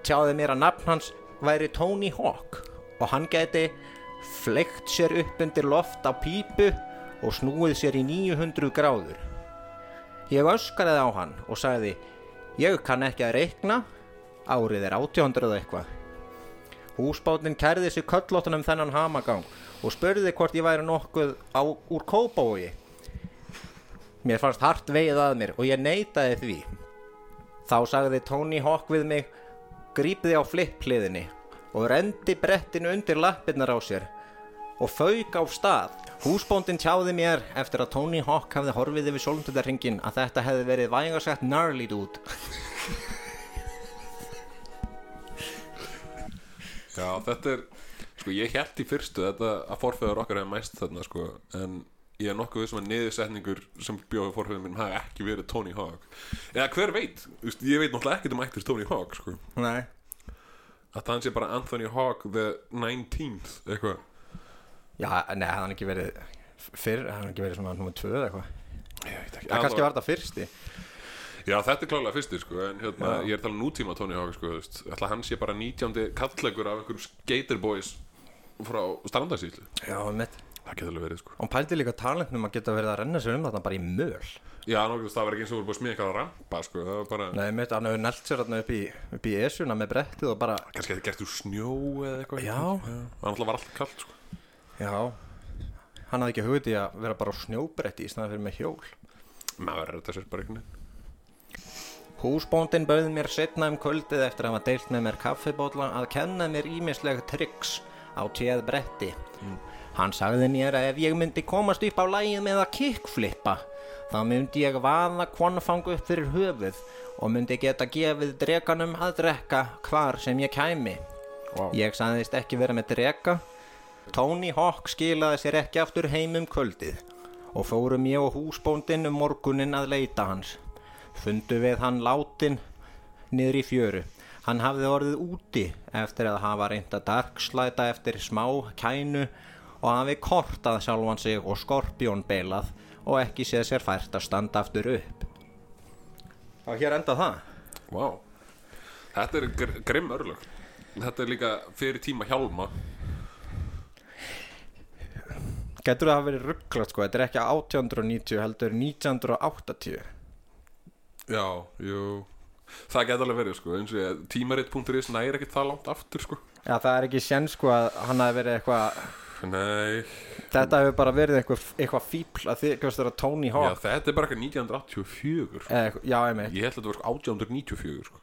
[SPEAKER 2] tjáði mér að nafn hans væri Tony Hawk og hann gæti fleikt sér upp undir loft á pípu og snúið sér í 900 gráður. Ég öskaraði á hann og sagði ég kann ekki að reikna, árið er 800 eitthvað. Húsbátnin kærði sig köllóttan um þennan hamagang og spurði hvort ég væri nokkuð á, úr kópói. Mér fannst hart veið að mér og ég neitaði því. Þá sagði Tony Hawk við mig, grípði á flippliðinni og rendi brettinu undir lappirnar á sér og fauk á stað. Húsbóndin tjáði mér eftir að Tony Hawk hafði horfið yfir sólundundarringin að þetta hefði verið vægarsett gnarlít út.
[SPEAKER 1] Já, þetta er Sko, ég held í fyrstu þetta að forfeður okkar hefði mæst þarna, sko En ég er nokkuð vissum að niðursetningur sem bjóði forfeður minn hafi ekki verið Tony Hawk Eða hver veit, Þú veist, ég veit náttúrulega ekkert um ættir Tony Hawk, sko
[SPEAKER 6] Nei
[SPEAKER 1] Að hann sé bara Anthony Hawk the 19th, eitthvað
[SPEAKER 6] Já, nei, hafði hann ekki verið fyrr, hafði hann ekki verið svona nummer 2 eða eitthvað
[SPEAKER 1] Ég veit ekki
[SPEAKER 6] Það kannski var þetta fyrsti
[SPEAKER 1] Já, þetta er klálega fyrstir, sko En hérna, ég er að tala um nútíma Tony Hawk, sko, þú veist Ætla hann sé bara 19. kalllegur af einhverjum skaterboys frá strandarsýslu
[SPEAKER 6] Já, mitt
[SPEAKER 1] Það getur alveg verið, sko
[SPEAKER 6] Og hann pældi líka talentnum að geta verið að renna sér um þarna bara í möl
[SPEAKER 1] Já, nokkuð, það var ekki eins og voru búið að smíða eitthvað rampa, sko Það var bara,
[SPEAKER 6] Nei, mitt, hann hefur nelt sér þarna upp í, upp í esuna með brettið og bara
[SPEAKER 1] kannski að þetta gert úr snjó eða eitthvað
[SPEAKER 6] Já.
[SPEAKER 1] Það náttúrulega var alltaf kallt, sko
[SPEAKER 6] Já Hann hafði ekki hugið í að vera bara á snjóbretti í snæðan fyrir með hjól
[SPEAKER 1] Maður er þetta sér bara einhvern veginn
[SPEAKER 2] Húsbóndin bauð mér setna um kvöldið eftir að hafa deilt með mér kaffibólla að kenna mér ímisleg tryggs á téð bretti. Hann sagði mér að ef ég myndi komast upp á lægið með að kickflippa, þá myndi ég vaða kvonfang upp fyrir höfuð og myndi geta gefið dreganum að drekka hvar sem ég kæmi. Ég sagðist ekki vera með drega. Tony Hawk skilaði sér ekki aftur heim um kvöldið og fórum ég og húsbóndin um morgunin að leita hans. Fundu við hann látin niður í fjöru. Hann hafði orðið úti eftir að hafa reynd að darkslæta eftir smá kænu og hafi kortað sjálfan sig og skorpjónbeilað og ekki séð sér fært að standa aftur upp.
[SPEAKER 6] Og hér enda það
[SPEAKER 1] Vá Þetta er gr grimm örlög Þetta er líka fyrir tíma hjálma
[SPEAKER 6] Getur það að verið rugglast sko, þetta er ekki 1890 heldur 1980
[SPEAKER 1] Já, jú Það getur alveg verið, sko eins og ég, tímarit.is næri ekkert það langt aftur, sko
[SPEAKER 6] Já, það er ekki sén sko að hann hafi verið eitthvað
[SPEAKER 1] Nei
[SPEAKER 6] Þetta hefur bara verið eitthvað, eitthvað fíbl að þið, hvað vera Tony
[SPEAKER 1] Já,
[SPEAKER 6] Hawk
[SPEAKER 1] þetta er bara eitthvað 1984
[SPEAKER 2] Eh,
[SPEAKER 6] Já, eitthvað, já einmitt
[SPEAKER 1] sko. Ég held að þetta var sko 1894, sko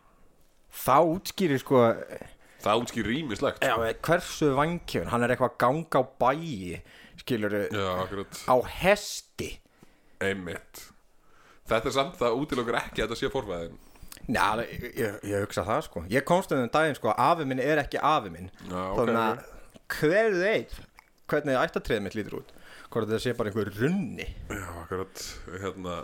[SPEAKER 6] Þá útskýrir sko
[SPEAKER 1] Það útskýr rýmislegt sko.
[SPEAKER 6] já, hversu vankjön, hann er eitthvað gang á bæi skilur
[SPEAKER 1] Já, akkurat
[SPEAKER 6] á hesti
[SPEAKER 1] Einmitt Þetta er samt, það útilokur ekki að þetta sé forfæðin
[SPEAKER 6] Já, ég, ég, ég hugsa það sko Ég komst um þenn daginn sko, afi minn er ekki afi minn
[SPEAKER 1] Já, ok,
[SPEAKER 6] Þannig að hver veit hvernig ættatriðið mitt lítur út Hvort það sé bara einhver runni
[SPEAKER 1] Já, akkurat, hérna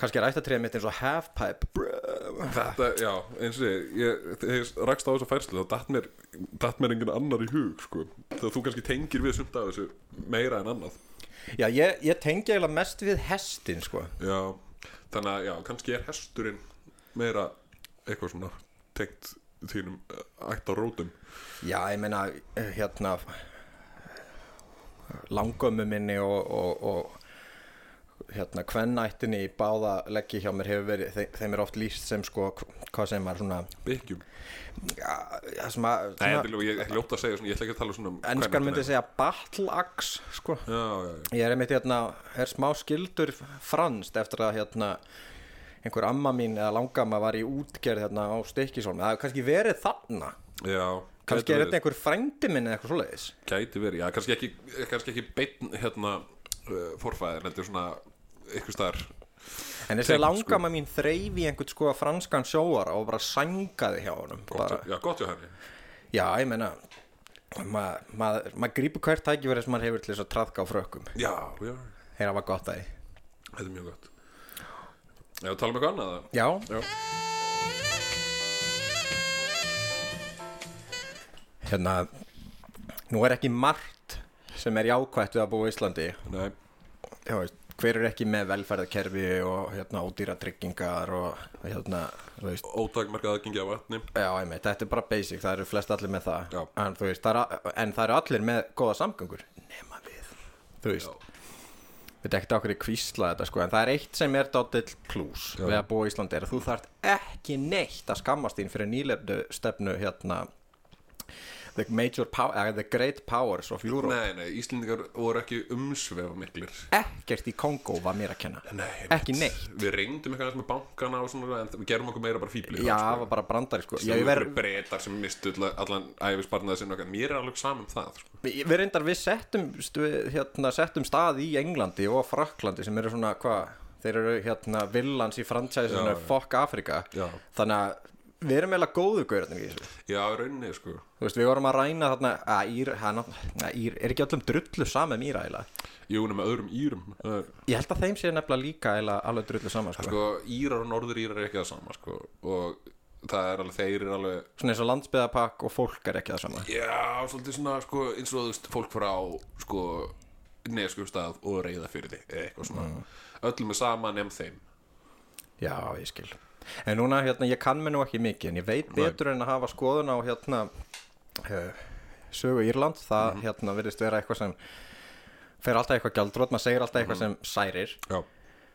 [SPEAKER 6] Kannski er ættatriðið mitt eins og halfpipe Brr.
[SPEAKER 1] Þetta, já, eins og ég, ég þegar ég rakst á þessa færslu þá datt mér, datt mér enginn annar í hug sko. þegar þú kannski tengir við sumt af þessu meira en annað
[SPEAKER 6] Já, ég, ég tengi eiginlega mest við hestin sko
[SPEAKER 1] já, þannig að, já, kannski er hesturinn meira eitthvað svona tengt þínum eh, ætt á rótum
[SPEAKER 6] Já, ég meina, eh, hérna Langömmu minni og, og, og hérna, kvennættinni í báða leggji hjá mér hefur verið þeim, þeim er oft lýst sem sko, hvað sem maður svona
[SPEAKER 1] byggjum
[SPEAKER 6] Já, já, svona,
[SPEAKER 1] Nei, þetta
[SPEAKER 6] svona
[SPEAKER 1] er ég ekki ljótt að segja, svona, ég ætla ekki að tala svona um
[SPEAKER 6] ennskan
[SPEAKER 1] kvennatina.
[SPEAKER 6] myndi segja battle axe sko.
[SPEAKER 1] já, já, já,
[SPEAKER 6] ég er einmitt hérna er smá skildur franst eftir að hérna einhver amma mín eða langamma var í útgerð hérna á Stekkisholmi, það er kannski verið þarna
[SPEAKER 1] já
[SPEAKER 6] kannski
[SPEAKER 1] gæti
[SPEAKER 6] er
[SPEAKER 1] verið-
[SPEAKER 6] þetta einhver frændi minn eða eitthvað svoleiðis
[SPEAKER 1] gæti verið, já, kannski ekki, kannski ekki beinn hérna uh, forfæðir þetta er svona ykkur staðar
[SPEAKER 2] En þessi
[SPEAKER 1] Tengt, sko.
[SPEAKER 2] langama mín þreif í einhvern sko franskan sjóara og bara sangaði hjá honum bara,
[SPEAKER 1] já, gott hjá henni
[SPEAKER 2] Já, ég meina maður mað, mað grípur hvert tækifæri sem maður hefur til þess að traðka á frökkum
[SPEAKER 1] já, já,
[SPEAKER 2] Þeir hafa gott að því
[SPEAKER 1] þetta er mjög gott já, tala um eitthvað annað það
[SPEAKER 2] Já, hérna Nú er ekki margt sem er jákvætt við að búa í Íslandi
[SPEAKER 1] nei,
[SPEAKER 2] Já, veist, Hver er ekki með velferðarkerfi og hérna ódýratryggingar og hérna, þú veist
[SPEAKER 1] ótakmarkað aðgengi af vatni
[SPEAKER 2] Já, einmitt, þetta er bara basic, það eru flest allir með það
[SPEAKER 1] Já.
[SPEAKER 2] en, þú veist, það er, a- en það eru allir með góða samgöngur nema við Þú
[SPEAKER 1] Já.
[SPEAKER 2] veist, þetta er ekkert okkur í kvísla þetta sko, en það er eitt sem er dottill plús við að búa í Íslandi er að þú þarft ekki neitt að skammast þín fyrir nýlefnu stefnu hérna The, major power, eh, the Great Powers of Europe
[SPEAKER 1] nei, nei, Íslendingar voru ekki umsvefa miklir
[SPEAKER 2] Ekkert í Kongó var mér að kenna
[SPEAKER 1] nei,
[SPEAKER 2] Ekki neitt
[SPEAKER 1] við reyndum eitthvað aðeins með bankana og svona en við gerum okkur meira bara fíblir
[SPEAKER 2] Já, það var bara brandari sko
[SPEAKER 1] Ég
[SPEAKER 2] Ég
[SPEAKER 1] verður
[SPEAKER 2] verð
[SPEAKER 1] breytar sem mistu alla- allan æfisbarnaði sinna okkar Mér er alveg saman um það sko.
[SPEAKER 2] Við við reyndar við settum, stu, hérna, settum stað í Englandi og Fraklandi sem eru svona hvað þeir eru hérna villans í fransæsinu Fokk Afrika
[SPEAKER 1] Já.
[SPEAKER 2] þannig að við erum eiginlega góðu gaurarnir í þessu
[SPEAKER 1] Já, í rauninni sko.
[SPEAKER 2] þú veist við vorum að ræna þarna að ír, hana, að ír er ekki öllum drullu sama um íra eiginlega
[SPEAKER 1] Jú, nema öðrum írum Það er-
[SPEAKER 2] ég held að þeim sé nefnilega líka eiginlega alveg drullu sama sko.
[SPEAKER 1] sko, Írar og norður írar er ekki það sama sko. og það er alveg þeir er alveg
[SPEAKER 2] svona eins og landsbyðapakk og fólk er ekki það sama
[SPEAKER 1] Já, svolítið svona sko, eins og þú veist fólk frá sko, neskjöfstað og reyða fyrir þig eitthvað svona Öllum er sama nefn þeim
[SPEAKER 2] já ég skil en núna hérna ég kann mig nú ekki mikið en ég veit betur en að hafa skoðun á hérna uh, sögu Írland það hérna virðist vera eitthvað sem fer alltaf eitthvað gjaldrót maður segir alltaf eitthvað sem særir
[SPEAKER 1] Já,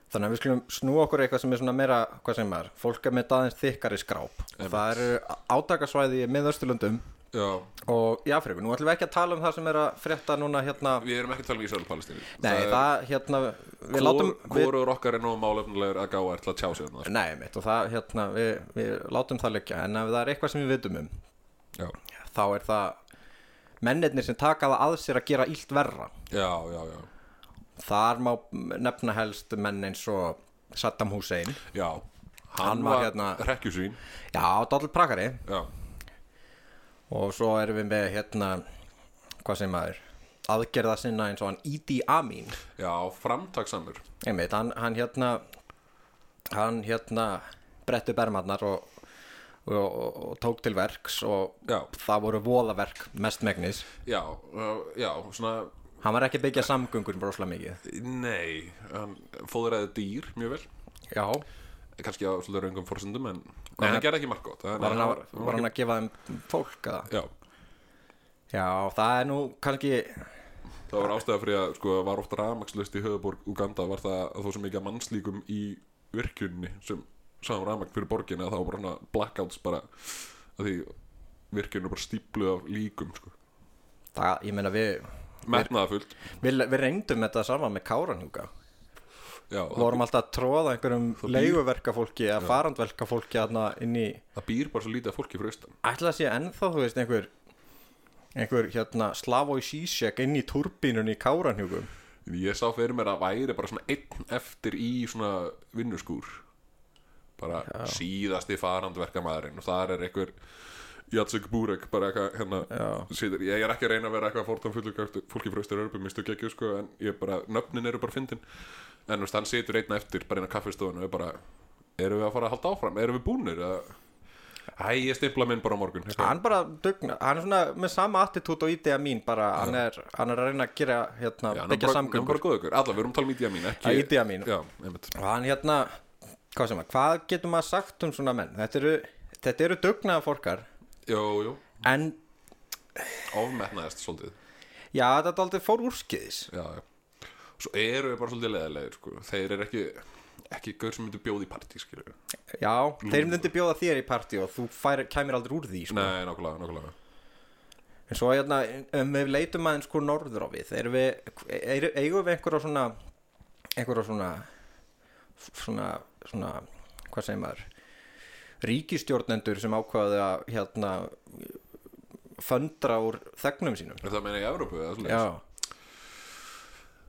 [SPEAKER 2] Þannig að við skulum snúa okkur í eitthvað sem er svona meira, hvað sem er, fólk er með aðeins þykkari skráp. Það eru átakasvæði í miðausturlöndum og í Afríku. Nú ætlum við ekki að tala um það sem er að frétta núna hérna, nei,
[SPEAKER 1] við erum ekki að tala um Ísrael og Palestínu
[SPEAKER 2] það, hérna, við látum, við,
[SPEAKER 1] Hvorur okkar er nóg málefnilegur að gáa er til að tjá sig um það sko.
[SPEAKER 2] nei, mitt, og það, hérna, við, við látum það leggja, en ef það er eitthvað sem við vitum um,
[SPEAKER 1] Já,
[SPEAKER 2] þá er það mennirnir sem taka það að sér að gera illt verra.
[SPEAKER 1] já, já, já.
[SPEAKER 2] Þar má nefna helst menn eins og Saddam Hussein.
[SPEAKER 1] já. Hann,
[SPEAKER 2] Hann var
[SPEAKER 1] var
[SPEAKER 2] hérna-
[SPEAKER 1] hrekkjusvín
[SPEAKER 2] Já, Dóll Prakari.
[SPEAKER 1] Já,
[SPEAKER 2] og svo erum við með hérna hvað sem maður aðgerða sinna eins og hann Idi Amin
[SPEAKER 1] já framtaksamur
[SPEAKER 2] einmitt, hann, hann hérna hann hérna brettu bermarnar og, og, og, og tók til verks og
[SPEAKER 1] Já.
[SPEAKER 2] það voru voðaverk mestmegnis
[SPEAKER 1] Já, uh, já, svona
[SPEAKER 2] hann var ekki að byggja samgöngur brosla mikið
[SPEAKER 1] Nei, hann fóðraði dýr mjög vel
[SPEAKER 2] já,
[SPEAKER 1] kannski á svolítið raungum forsendum en Nei, hann gerði ekki margt gott
[SPEAKER 2] var hann, að, var hann að gefa þeim fólk að
[SPEAKER 1] Já,
[SPEAKER 2] já, það er nú kannski
[SPEAKER 1] það var ástæða fyrir að sko, var oft rafmakslust í höfuborg Uganda var það að þó sem ekki að mannslíkum í virkjunni sem sáum rafmagn fyrir borginni að það var bara svona blackouts bara að því virkjunni var bara stípluð af líkum sko.
[SPEAKER 2] það, ég meina við
[SPEAKER 1] metnaðafullt
[SPEAKER 2] við, við reyndum þetta sama með Káranhjúka
[SPEAKER 1] Já,
[SPEAKER 2] Við vorum alltaf að tróða einhverjum leiguverkafólki eða farandverkafólki þarna inn í
[SPEAKER 1] það býr bara svo lítið af fólki frá austan
[SPEAKER 2] ætla að sé ennþá, þú veist, einhver einhver hérna Slavoj Zizek inn í turbínunni í Káranhjúkum
[SPEAKER 1] Ég sá fyrir mér að væri bara svona einn eftir í svona vinnuskúr bara síðasti farandverkamaðurinn og þar er einhver Jacek Burek bara eitthvað hérna situr, ég er ekki að reyna að vera eitthvað fórtum fullu fólki frá Ístur Örbu, mistu gekkju sko en ég bara, nöfnin eru bara fyndin en þú veist, hann situr einn eftir bara inn á kaffistofun og er bara, erum við að fara að halda áfram erum við búnir eða Æ, ég stimpla minn bara á morgun eitthvað.
[SPEAKER 2] hann bara dugna, hann er svona með sama attitút og ídega mín bara, hann er, hann er að reyna að gera hérna,
[SPEAKER 1] Já, hann er bara-
[SPEAKER 2] byggja
[SPEAKER 1] hann er bara
[SPEAKER 2] samgöngur
[SPEAKER 1] góð ykkur, allar, við erum að tala um ídja mín ekki,
[SPEAKER 2] Já, Idi Amin.
[SPEAKER 1] Já, einmitt
[SPEAKER 2] og hann hérna, hvað sem að hvað getur maður sagt um svona menn þetta eru, þetta eru dugnaða fólkar
[SPEAKER 1] Jú, jú,
[SPEAKER 2] en,
[SPEAKER 1] ofmetnaðist svolítið
[SPEAKER 2] já, þetta aldrei fór úrskiðis
[SPEAKER 1] já, já. Svo eru við bara svolítið leðilegir sko. Þeir eru ekki ekki gaur sem myndu bjóð í partí skilur.
[SPEAKER 2] já,
[SPEAKER 1] Mm.
[SPEAKER 2] þeir myndi bjóða þér í partí og þú fær, kæmir aldrei úr því sko.
[SPEAKER 1] Nei, nákvæmlega, nákvæmlega
[SPEAKER 2] En svo hérna, um við leitum aðeins sko norður á við, erum við, er, eigum við einhverja svona, einhverja svona, svona, svona, hvað segir maður, ríkistjórnendur sem ákvaði að hérna föndra úr þegnum sínum.
[SPEAKER 1] Er það meina í Evrópu eða svolítið?
[SPEAKER 2] Já,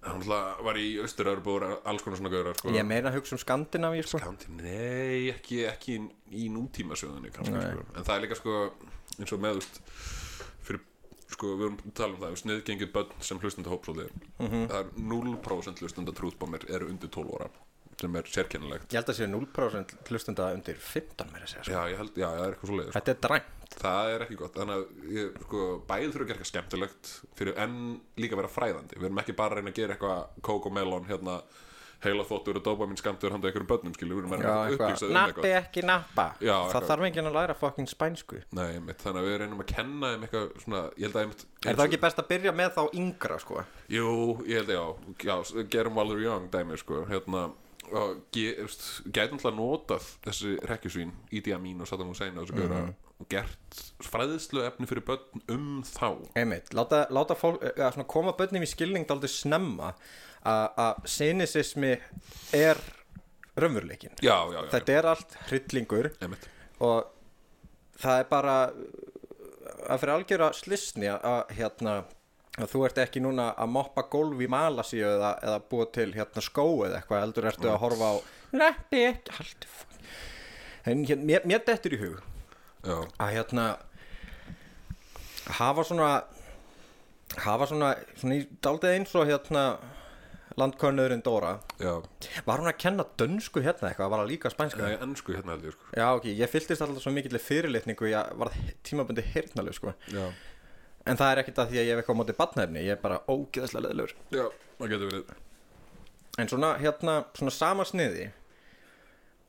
[SPEAKER 1] hann alltaf var í Östur-Örbu og voru alls konar svona gaurar sko.
[SPEAKER 2] Ég er meira að hugsa um Skandinavíu sko.
[SPEAKER 1] County, nei, ekki, ekki í nútíma sögðunni kannski, sko. en það er líka sko, eins og með úst, fyrir, sko, við vorum að tala um það sniðgengið börn sem hlustenda hópsóðir mm
[SPEAKER 2] Mhm.
[SPEAKER 1] -hmm. það er 0% hlustenda trúðbómir eru undir 12 ára sem er sérkennilegt
[SPEAKER 2] Ég held að sé 0% hlustenda undir 15 meira að segja sko.
[SPEAKER 1] Já, ég held, já, það er eitthvað svo
[SPEAKER 2] Þetta er dræmt
[SPEAKER 1] Það er ekki gott, þannig að ég, sko, bæði þurfa að gera eitthvað skemmtilegt fyrir en líka vera fræðandi, við erum ekki bara að reyna að gera eitthvað kók og melon hérna heila þóttur og dópa mín skamtur handa einhverjum börnum skilur, við erum að reyna að upplýsa um
[SPEAKER 2] Nappi
[SPEAKER 1] eitthvað
[SPEAKER 2] ekki nappa
[SPEAKER 1] Já,
[SPEAKER 2] Það
[SPEAKER 1] eitthvað.
[SPEAKER 2] þarf enginn að læra fucking spænsku
[SPEAKER 1] Nei, einmitt, þannig að við reynum að kenna þeim eitthvað svona, ég held að einmitt,
[SPEAKER 2] Er það ekki best að byrja með þá yngra sko?
[SPEAKER 1] Jú, ég held að já, já gerum Valur Young dæmi sko, hérna og ge, veist, gætum alltaf notað þessi rekkjusvín í díja mín og Saddam Hussein og, mm
[SPEAKER 2] Mhm.
[SPEAKER 1] -hmm. og gert fræðislu efni fyrir börn um þá
[SPEAKER 2] Einmitt, láta, láta fólk, að svona koma bönnum í skilning daldið snemma að- að sinisismi er raunveruleikin
[SPEAKER 1] Já, já, já,
[SPEAKER 2] Þetta er allt hryllingur
[SPEAKER 1] einmitt
[SPEAKER 2] og það er bara eh, að fyrir algjöra slisni að- að hérna að þú ert ekki núna að moppa gólf í Malasíu eða, eða búa til hérna skó eða eitthvað heldur ertu að horfa á neppi ekki, haldi f- en hérna, mér, mér dettur í hug
[SPEAKER 1] Já,
[SPEAKER 2] að hérna hafa svona hafa svona, svona í daldið eins og hérna landkönnuðurinn Dóra
[SPEAKER 1] já,
[SPEAKER 2] var hún að kenna dönsku hérna eitthvað, var að líka spænska
[SPEAKER 1] það er ennsku hérna held ég sko
[SPEAKER 2] Já, ok, ég fylltist alltaf svo mikill fyrirlitningu, ég var tímabundi heyrnaleg, sko
[SPEAKER 1] Já,
[SPEAKER 2] En það er ekkert að því að ég hef eitthvað á móti batnaefni, ég er bara ógeðslega leðilegur
[SPEAKER 1] já, það getur verið
[SPEAKER 2] En svona, hérna, svona sama sniði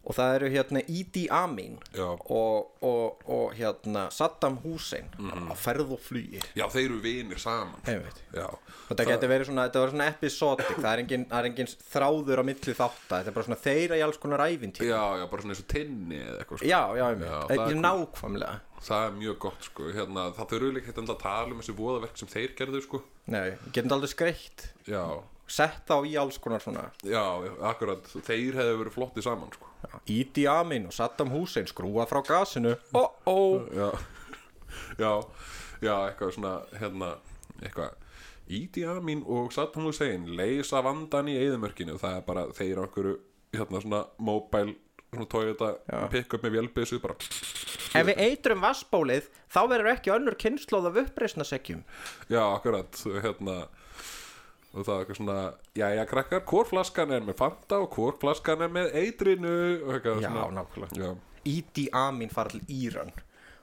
[SPEAKER 2] Og það eru hérna Idi Amin
[SPEAKER 1] Já,
[SPEAKER 2] og, og, og hérna Saddam Hussein á ferð og flýi
[SPEAKER 1] já þeir eru vinir saman
[SPEAKER 2] Einmitt.
[SPEAKER 1] Já,
[SPEAKER 2] Og þetta getur verið svona, þetta var svona episodic, það er engin, það er engin þráður á milli þátta Þetta er bara svona þeirra í alls konar ævintýr
[SPEAKER 1] já, já, bara svona eins og tinni eða eitthvað sko.
[SPEAKER 2] Já, já, einmitt,
[SPEAKER 1] Já,
[SPEAKER 2] já,
[SPEAKER 1] það er
[SPEAKER 2] ég
[SPEAKER 1] cool.
[SPEAKER 2] nákvæmlega
[SPEAKER 1] Það er mjög gott sko, hérna, það þurfur líka hérna að tala um þessi voðaverk sem þeir gerðu sko
[SPEAKER 2] Nei, getum þetta aldrei skreitt
[SPEAKER 1] Já,
[SPEAKER 2] Sett þá í alls konar svona
[SPEAKER 1] já, akkurat, þeir hefðu verið flotti saman sko
[SPEAKER 2] Idi Amin og Saddam Hussein skrúa frá gasinu oh -oh.
[SPEAKER 1] Já, já, já, eitthvað svona, hérna, eitthvað Ídi Amin og Saddam Hussein leysa vandan í eyðumörkinu það er bara þeir á einhverju hérna svona mobile svona Toyota pick-up með vélbissu bara
[SPEAKER 5] Ef við eitrum vassbólið, þá verður ekki önnur kynnslóð af uppreisnasekkjum.
[SPEAKER 1] Já, akkurat, hérna og það er eitthvað svona jæja krakkar, hvorflaskan er með Fanta og hvorflaskan er með eitrinu og eitthvað
[SPEAKER 2] Já,
[SPEAKER 1] svona
[SPEAKER 2] nákvæmlega
[SPEAKER 1] Já,
[SPEAKER 2] Idi Amin fara til Íran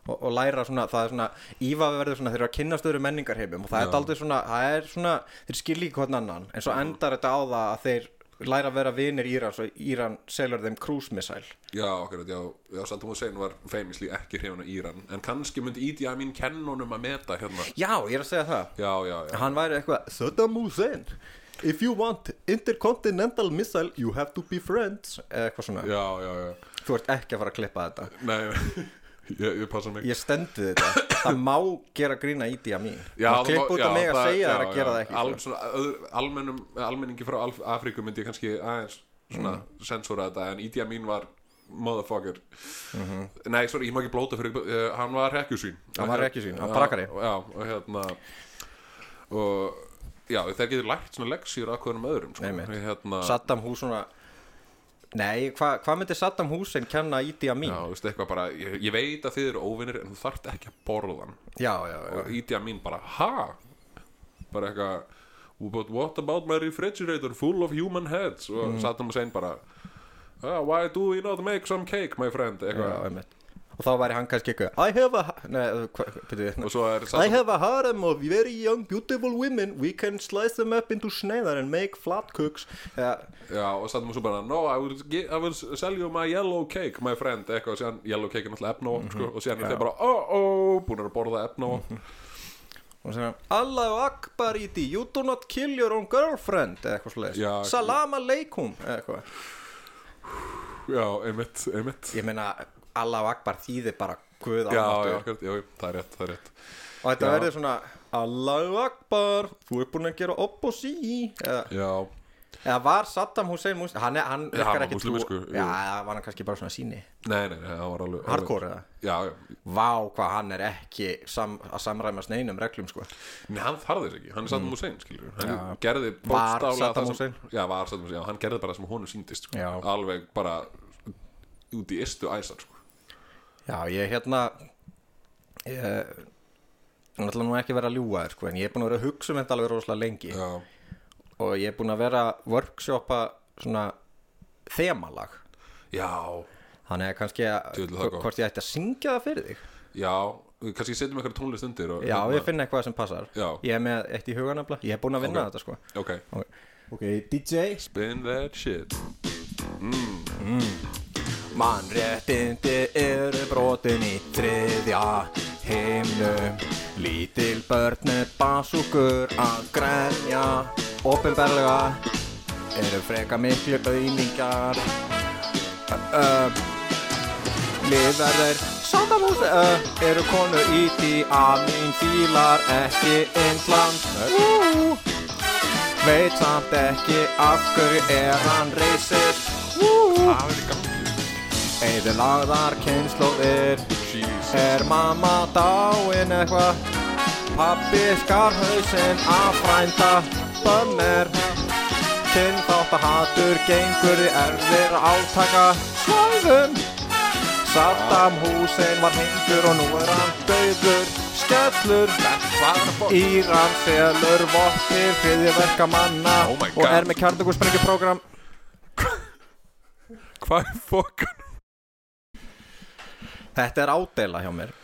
[SPEAKER 2] og, og læra svona, það er svona Íva verður svona, þeir eru að kynnast öðru menningarheimum og það er aldrei svona, það er svona þeir skilji ekki hvern annan, en svo endar þetta á það að þeir læra að vera vinir Írans og Íran selur þeim cruise missile
[SPEAKER 1] já akkurat, já, já Saddam Hussein var famously ekki hrifun á Íran en kannski myndi Ídi að mín kennunum að meta hérna
[SPEAKER 2] Já, ég er að segja það
[SPEAKER 1] Já, já, já,
[SPEAKER 2] Hann væri eitthvað Saddam Hussein If you want intercontinental missile you have to be friends eða eitthvað svona
[SPEAKER 1] já, já, já
[SPEAKER 2] Þú ert ekki að fara að klippa þetta
[SPEAKER 1] Nei, [LAUGHS] ég, ég passa mig
[SPEAKER 2] ég stend við þetta það má gera grína í díja mín
[SPEAKER 1] Já,
[SPEAKER 2] það klipp
[SPEAKER 1] má-
[SPEAKER 2] út af mig að
[SPEAKER 1] það-
[SPEAKER 2] segja þær
[SPEAKER 1] já,
[SPEAKER 2] að gera
[SPEAKER 1] já.
[SPEAKER 2] það ekki
[SPEAKER 1] Al,
[SPEAKER 2] sko.
[SPEAKER 1] svona, öðru- almennum, Almenningi frá Alf- Afríku myndi ég kannski aðeins svona
[SPEAKER 2] Mm.
[SPEAKER 1] sensóra þetta en ídja mín var motherfucker Nei, sorry, ég má ekki blóta fyrir uh, hann var rekkjusvín
[SPEAKER 2] Mhm. Hann var hrekkjusvín, hann brakari.
[SPEAKER 1] Já, og hérna og já, þeir getur lært svona leksýr að hverjum öðrum sko.
[SPEAKER 2] Einmitt.
[SPEAKER 1] hérna,
[SPEAKER 2] Saddam Hussein var- nei, hvað hva myndi Saddam Hussein kenna í díja mín
[SPEAKER 1] Já, þú veist eitthvað bara, ég, ég veit að þið eru óvinnir en þú þarft ekki að borða hann
[SPEAKER 2] já, já, já,
[SPEAKER 1] og Ídja mín bara, ha? bara eitthvað but what about my refrigerator full of human heads og
[SPEAKER 2] Mm.
[SPEAKER 1] Saddam Hussein bara "Ah, why do we not make some cake my friend
[SPEAKER 2] já,
[SPEAKER 1] eitthvað
[SPEAKER 2] einmitt og þá væri hann kannski eitthvað I have a, nei, hva, byrju,
[SPEAKER 1] og svo er
[SPEAKER 2] [LAUGHS] I
[SPEAKER 1] Saddam
[SPEAKER 2] have a harem of very young beautiful women we can slice them up into sneiðar and make flat cooks já,
[SPEAKER 1] já, og Saddam Hussein bara no I will, gi- I will sell you my yellow cake my friend eitthvað og síðan yellow cake er náttúrulega efna
[SPEAKER 2] Mhm.
[SPEAKER 1] mm sko, og síðan er þeir bara oh oh búin að borða efna
[SPEAKER 2] og segja Allahu Akbar í you do not kill your own girlfriend eða eitthvað
[SPEAKER 1] Já,
[SPEAKER 2] svoleiðis Salam aleikum eða eitthvað
[SPEAKER 1] já, einmitt, einmitt
[SPEAKER 2] ég meina Allahu Akbar þýðir bara Guð
[SPEAKER 1] já,
[SPEAKER 2] almáttugur.
[SPEAKER 1] já, akkurat, já, já, það er rétt, það er rétt
[SPEAKER 2] og þetta
[SPEAKER 1] Já.
[SPEAKER 2] verður svona Allahu Akbar, þú er búinn að gera upp og sí eða,
[SPEAKER 1] já,
[SPEAKER 2] eða var Saddam Hussein múslim hann, er- hann
[SPEAKER 1] Já, hann
[SPEAKER 2] virkar
[SPEAKER 1] var
[SPEAKER 2] ekki
[SPEAKER 1] múslimi,
[SPEAKER 2] trú-
[SPEAKER 1] sko, jú.
[SPEAKER 2] já, eða var hann kannski bara svona síni
[SPEAKER 1] Nei, nei, nei, það var alveg
[SPEAKER 2] hardcore eða
[SPEAKER 1] alveg- Já, já,
[SPEAKER 2] vá hvað hann er ekki sam, að samræmast neinum reglum sko
[SPEAKER 1] nei, hann þarði þess ekki Hann er Saddam Hussein, skilur Hann
[SPEAKER 2] Mm. Já.
[SPEAKER 1] gerði
[SPEAKER 2] Var
[SPEAKER 1] bókstálega
[SPEAKER 2] Saddam
[SPEAKER 1] það
[SPEAKER 2] Hussein?
[SPEAKER 1] sem Já, var Saddam Hussein, já, hann gerði bara það sem honum síndist sko.
[SPEAKER 2] Já.
[SPEAKER 1] Alveg bara út í istu æsar sko.
[SPEAKER 2] já ég hérna ég Ég ætla nú ekki að vera að ljúga þér sko, en ég er búin að vera að hugsa um þetta alveg rosalega lengi
[SPEAKER 1] Já,
[SPEAKER 2] og ég er búin að vera að workshoppa svona þemalag
[SPEAKER 1] já,
[SPEAKER 2] þannig að kannski að
[SPEAKER 1] Djöfull, það er gott.
[SPEAKER 2] hvort ég ætti að syngja það fyrir þig
[SPEAKER 1] já Kannski setjum eitthvað tónlist undir og,
[SPEAKER 2] já, ég finn eitthvað sem passar
[SPEAKER 1] Hérna. Já.
[SPEAKER 2] ég er með eitt í huga nefnilega, ég er búin að vinna
[SPEAKER 1] Ok.
[SPEAKER 2] þetta sko
[SPEAKER 1] Ok,
[SPEAKER 2] ok, DJ
[SPEAKER 1] spin that shit
[SPEAKER 2] Mannréttindi eru brotin í þriðja heimnum Lítil börn með basúkur að grenja Opinberlega eru freka miklu auðningar uh, Liðverðir Sandamús uh, eru konu í því að mín fílar ekki Indland uh, Veit samt ekki af hverju er hann racist uh,
[SPEAKER 1] Það er í gangi
[SPEAKER 2] Eða lagðar kynnslóðir
[SPEAKER 1] Jeez
[SPEAKER 2] Er mamma dáin eitthva Pappi skar hausinn að frænda Bönner Kynþáttahatur gengur í erfir átaka Slæðum Saddam Hussein var hengdur og nú er hann döður Skellur Íran selur vopnir Fyrirverka manna
[SPEAKER 1] Oh my
[SPEAKER 2] Og
[SPEAKER 1] God.
[SPEAKER 2] er með kjarndugursprengjuprogram
[SPEAKER 1] Hvað er fokkan?
[SPEAKER 2] Þetta er ádela hjá mér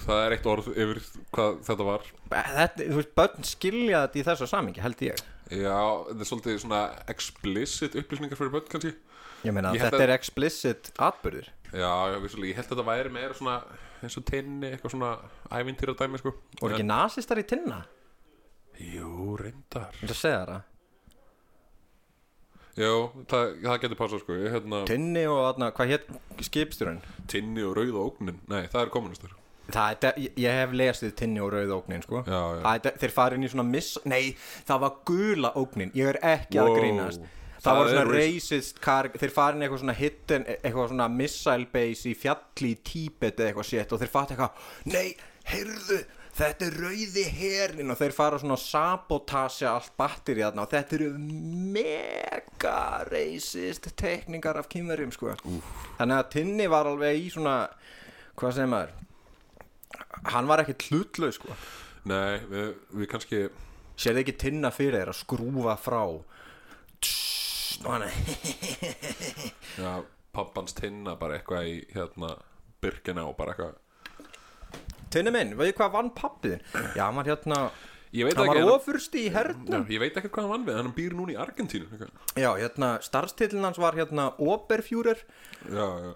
[SPEAKER 1] Það er eitt orð yfir hvað þetta var
[SPEAKER 2] þetta, þú veist, börn skilja þetta í þessu samingi, held ég
[SPEAKER 1] Já, þetta er svolítið svona explicit upplýsningar fyrir börn kannski
[SPEAKER 2] ég meina,
[SPEAKER 1] Ég held
[SPEAKER 2] þetta
[SPEAKER 1] að-
[SPEAKER 2] er explicit atbyrður
[SPEAKER 1] Já, já, vissulega, ég held að þetta væri meira svona eins og tenni, eitthvað svona ævintýra dæmi, sko
[SPEAKER 2] voru ekki nasistar í tinna,
[SPEAKER 1] Jú, reyndar
[SPEAKER 2] vil það segja það
[SPEAKER 1] Jú, það, það getur passað, sko ég, hérna,
[SPEAKER 2] tinni og þarna, hvað hétt skipstjórun
[SPEAKER 1] Tinni og rauða ógnin Nei, það er kommunistar
[SPEAKER 2] Það, þetta, ég- ég hef lesið tinni og rauð ógnin sko.
[SPEAKER 1] Já, já.
[SPEAKER 2] Það, þetta- þeir farið inn í svona miss nei, það var gula ógnin ég er ekki
[SPEAKER 1] Wow.
[SPEAKER 2] að grínast það,
[SPEAKER 1] Það
[SPEAKER 2] var
[SPEAKER 1] er
[SPEAKER 2] svona
[SPEAKER 1] racist.
[SPEAKER 2] racist kar, þeir farið inn í eitthvað svona hidden eitthvað svona missile base í fjalli í Tíbet eða eitthvað sétt og þeir fatt eitthvað nei, heyrðu Þetta er rauði herin og þeir fara svona að sabotasja allt batteri þarna og þetta eru mega racist tekningar af kýmverjum sko. Þannig að Tinni var alveg í svona, hvað segir maður, hann var ekkert hlutlaus sko
[SPEAKER 1] Nei, við, við kannski
[SPEAKER 2] sér þið ekki tinna fyrir þeir að skrúfa frá Svona.
[SPEAKER 1] já, pappans tinna bara eitthvað í hérna, byrkina og bara eitthvað
[SPEAKER 2] tinni minn, veiðu hvað vann pappiðin já, hann var hérna
[SPEAKER 1] Ég veit
[SPEAKER 2] hann
[SPEAKER 1] ekki,
[SPEAKER 2] var
[SPEAKER 1] hann-
[SPEAKER 2] ofurst í hernum
[SPEAKER 1] Já, ég veit ekki hvað hann vann við, hann býr núna í Argentínu eitthvað.
[SPEAKER 2] já, hérna, starfstillin hans var hérna Oberfjúrer
[SPEAKER 1] Já, já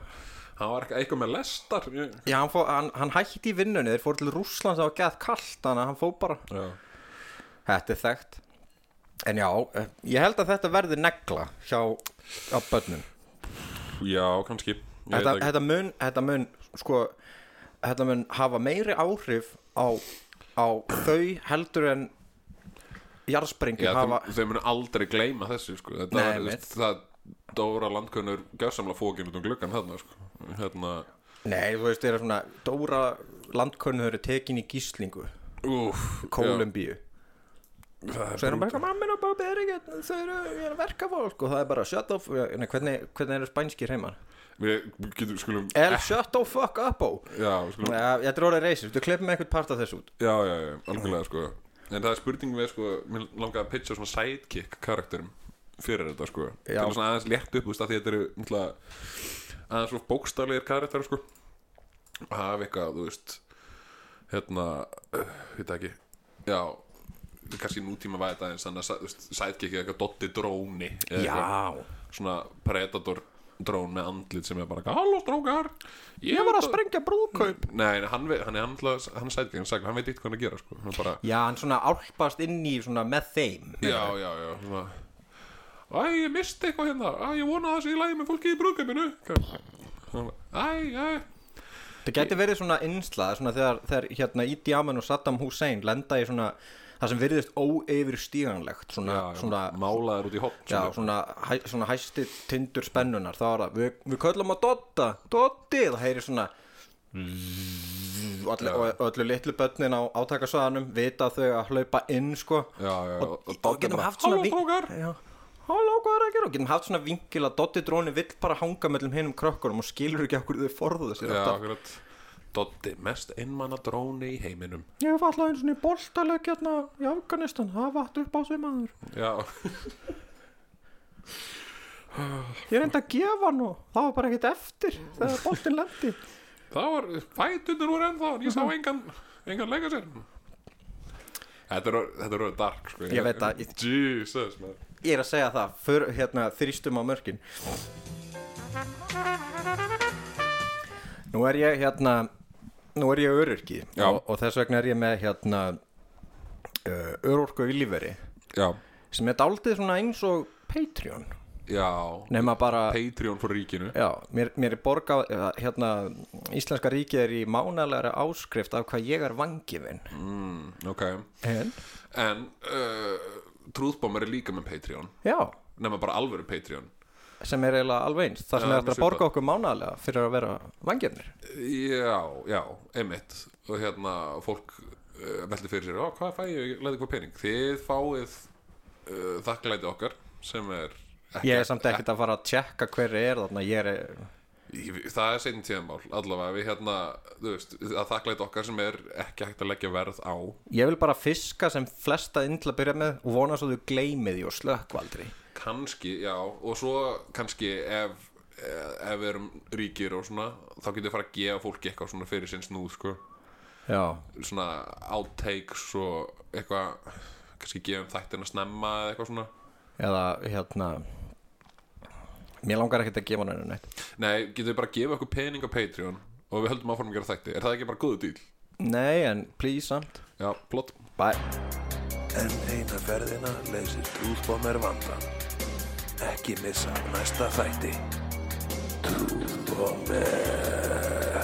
[SPEAKER 1] Hann var eitthvað- eitthvað með lestar ég-
[SPEAKER 2] já, hann, fó, hann, hann hætti í vinnunni þeir fór til Rússlands á gæð kallt þannig að hann fó bara
[SPEAKER 1] Já,
[SPEAKER 2] þetta er þekkt en já, eh, ég held að þetta verði negla hjá, hjá börnum
[SPEAKER 1] já kannski Ég veit
[SPEAKER 2] þetta,
[SPEAKER 1] ekki.
[SPEAKER 2] þetta mun, þetta mun sko, þetta mun hafa meiri áhrif á, á þau heldur en jarðsprengi
[SPEAKER 1] Já,
[SPEAKER 2] hafa
[SPEAKER 1] þeim, þeim munu aldrei gleyma þessu sko. Þetta
[SPEAKER 2] Nei,
[SPEAKER 1] var, þú
[SPEAKER 2] einmitt.
[SPEAKER 1] veist, það Dóra landkunnur gjörsamla fókin út um gluggan þarna sko. hérna,
[SPEAKER 2] nei, þú veist, þeir eru svona Dóra landkönnur eru tekin í gíslingu
[SPEAKER 1] úf
[SPEAKER 2] Kólumbíu
[SPEAKER 1] það
[SPEAKER 2] svo er hann bara eitthvað, mammin og babbi er ekki þau eru, ég er að verka fólk og það er bara shut off, nei, hvernig, hvernig eru spænskir heimar
[SPEAKER 1] Við getum, skulum
[SPEAKER 2] el shut the fuck up ó
[SPEAKER 1] Já, skulum,
[SPEAKER 2] Ja, þetta er orðið reysir, þú klippum einhvern part af þessu út
[SPEAKER 1] já, já, já, algjörlega sko En það er spurning við sko Mér langaði að pitcha svona sidekick karakterum Fyrir þetta sko
[SPEAKER 2] Já.
[SPEAKER 1] Til að svona aðeins létt upp, þú veist að því þetta eru náttúrulega, Aðeins svona bókstaflegir karakterar sko Að hafa eitthvað, þú veist Hérna uh, Þetta ekki Já, kannski nútíma væri þetta aðeins Þannig að sa- þú veist, sidekick er eitthvað dotti dróni eða eitthvað Svona predator drón með andlit sem er bara Halló strókar Ég,
[SPEAKER 2] ég var að
[SPEAKER 1] út
[SPEAKER 2] sprengja brúðkaup
[SPEAKER 1] Nei, nei, hann, veit- hann er alltaf, hann er sætgengin sagði, hann veit eitthvað hann er að gera, sko, hann er bara,
[SPEAKER 2] Já, hann svona álpast inn í svona með þeim
[SPEAKER 1] já, já, já, svona, æ, ég misti eitthvað hérna, æ, ég vona að það sé í lagi með fólki í brúðkaupinu, æ, æ,
[SPEAKER 2] Það geti verið svona innslað svona þegar, þegar hérna Idi Amin og Saddam Hussein lenda í svona það sem virðist óeyfir stíganlegt svona,
[SPEAKER 1] Já, já,
[SPEAKER 2] svona,
[SPEAKER 1] málaður út í hopp
[SPEAKER 2] já, svona, hæ, svona hæsti tindur spennunar þá er það, við, við köllum að Dotta Dotti, það heyri svona
[SPEAKER 1] Mm.
[SPEAKER 2] og öllu, og öllu litlu börnin á átakasvæðanum vita að þau að hlaupa inn sko
[SPEAKER 1] Já, já,
[SPEAKER 2] og,
[SPEAKER 1] og
[SPEAKER 2] og,
[SPEAKER 1] Doddi
[SPEAKER 2] getum
[SPEAKER 1] bara,
[SPEAKER 2] haft svona
[SPEAKER 1] "Halló,
[SPEAKER 2] vink-
[SPEAKER 1] strákar!"
[SPEAKER 2] Já, halló hvað er að gera og getum haft svona vinkil að Dotti dróni vill bara hanga mellum hinum krökkunum og skilur ekki okkur þau forðuðu sér
[SPEAKER 1] já,
[SPEAKER 2] alltaf.
[SPEAKER 1] akkurat Doddi, mest einmanna dróni í heiminum
[SPEAKER 2] Ég hef alltaf einu svona í boltaleg hérna í Afganistan, það vatt upp á sig maður.
[SPEAKER 1] Já,
[SPEAKER 2] Ég reyndi að gefa hann og það var bara ekkert eftir þegar boltin lendi.
[SPEAKER 1] það var fætundur úr ennþá en
[SPEAKER 2] Mhm.
[SPEAKER 1] ég sá engan, engan leika sér Þetta er, þetta er orðið dark sko.
[SPEAKER 2] Ég veit það, ég-
[SPEAKER 1] Jesus man.
[SPEAKER 2] Ég er að segja það, för, hérna, þrýstum á mörkin. Nú er ég hérna, nú er ég öryrki
[SPEAKER 1] Já.
[SPEAKER 2] og, og þess vegna er ég með hérna uh, örorku í lífveri
[SPEAKER 1] Já,
[SPEAKER 2] sem er daldið svona eins og Patreon.
[SPEAKER 1] já
[SPEAKER 2] Nefna bara...
[SPEAKER 1] Patreon frá ríkinu
[SPEAKER 2] Já, mér, mér er borga hérna, Íslenska ríkið er í mánalega áskrift af hvað ég er vangifinn
[SPEAKER 1] Mm, Ok,
[SPEAKER 2] En?
[SPEAKER 1] en uh, Trúðbómar er líka með Patreon
[SPEAKER 2] Já,
[SPEAKER 1] Nefna bara alvöru Patreon
[SPEAKER 2] sem er eiginlega alveg eins þar sem
[SPEAKER 1] Já,
[SPEAKER 2] er eftir
[SPEAKER 1] mjög
[SPEAKER 2] að borga okkur mánalega fyrir að vera vangifinnir
[SPEAKER 1] Já, já, einmitt Og hérna, fólk uh, veldi fyrir sér "Ó, Hvað fæ ég, leði hvað pening Þið fáið uh, þakklæti okkar Sem er ekki,
[SPEAKER 2] Ég er samt ekkert að fara að tjekka hver er þarna ég er
[SPEAKER 1] Ég- Það er seinni tíðanmál, allavega við hérna, þú veist, að þakklæt okkar sem er ekki hægt að leggja verð á
[SPEAKER 2] Ég vil bara fiska sem flesta inn til að byrja með og vona svo þau gleymið því og slökkvaldri
[SPEAKER 1] kannski, já, og svo kannski ef, ef við erum ríkir og svona, þá getur við fara að gefa fólki eitthvað svona fyrir sinn snúð, sko
[SPEAKER 2] Já,
[SPEAKER 1] svona outtakes og eitthvað, kannski gefum þættin að snemma eða eitthvað svona
[SPEAKER 2] eða hérna Mér langar ekkert að gefa henni neitt
[SPEAKER 1] Nei, getur við bara að gefa eitthvað pening á Patreon og við höldum áfram að gera þætti, er það ekki bara góðu dýl?
[SPEAKER 2] Nei, en please samt
[SPEAKER 1] Já, plott
[SPEAKER 2] Bye
[SPEAKER 7] En eina ferðina leysir trúðbómer vandan. Ekki missa af næsta þætti. Trúðbómer.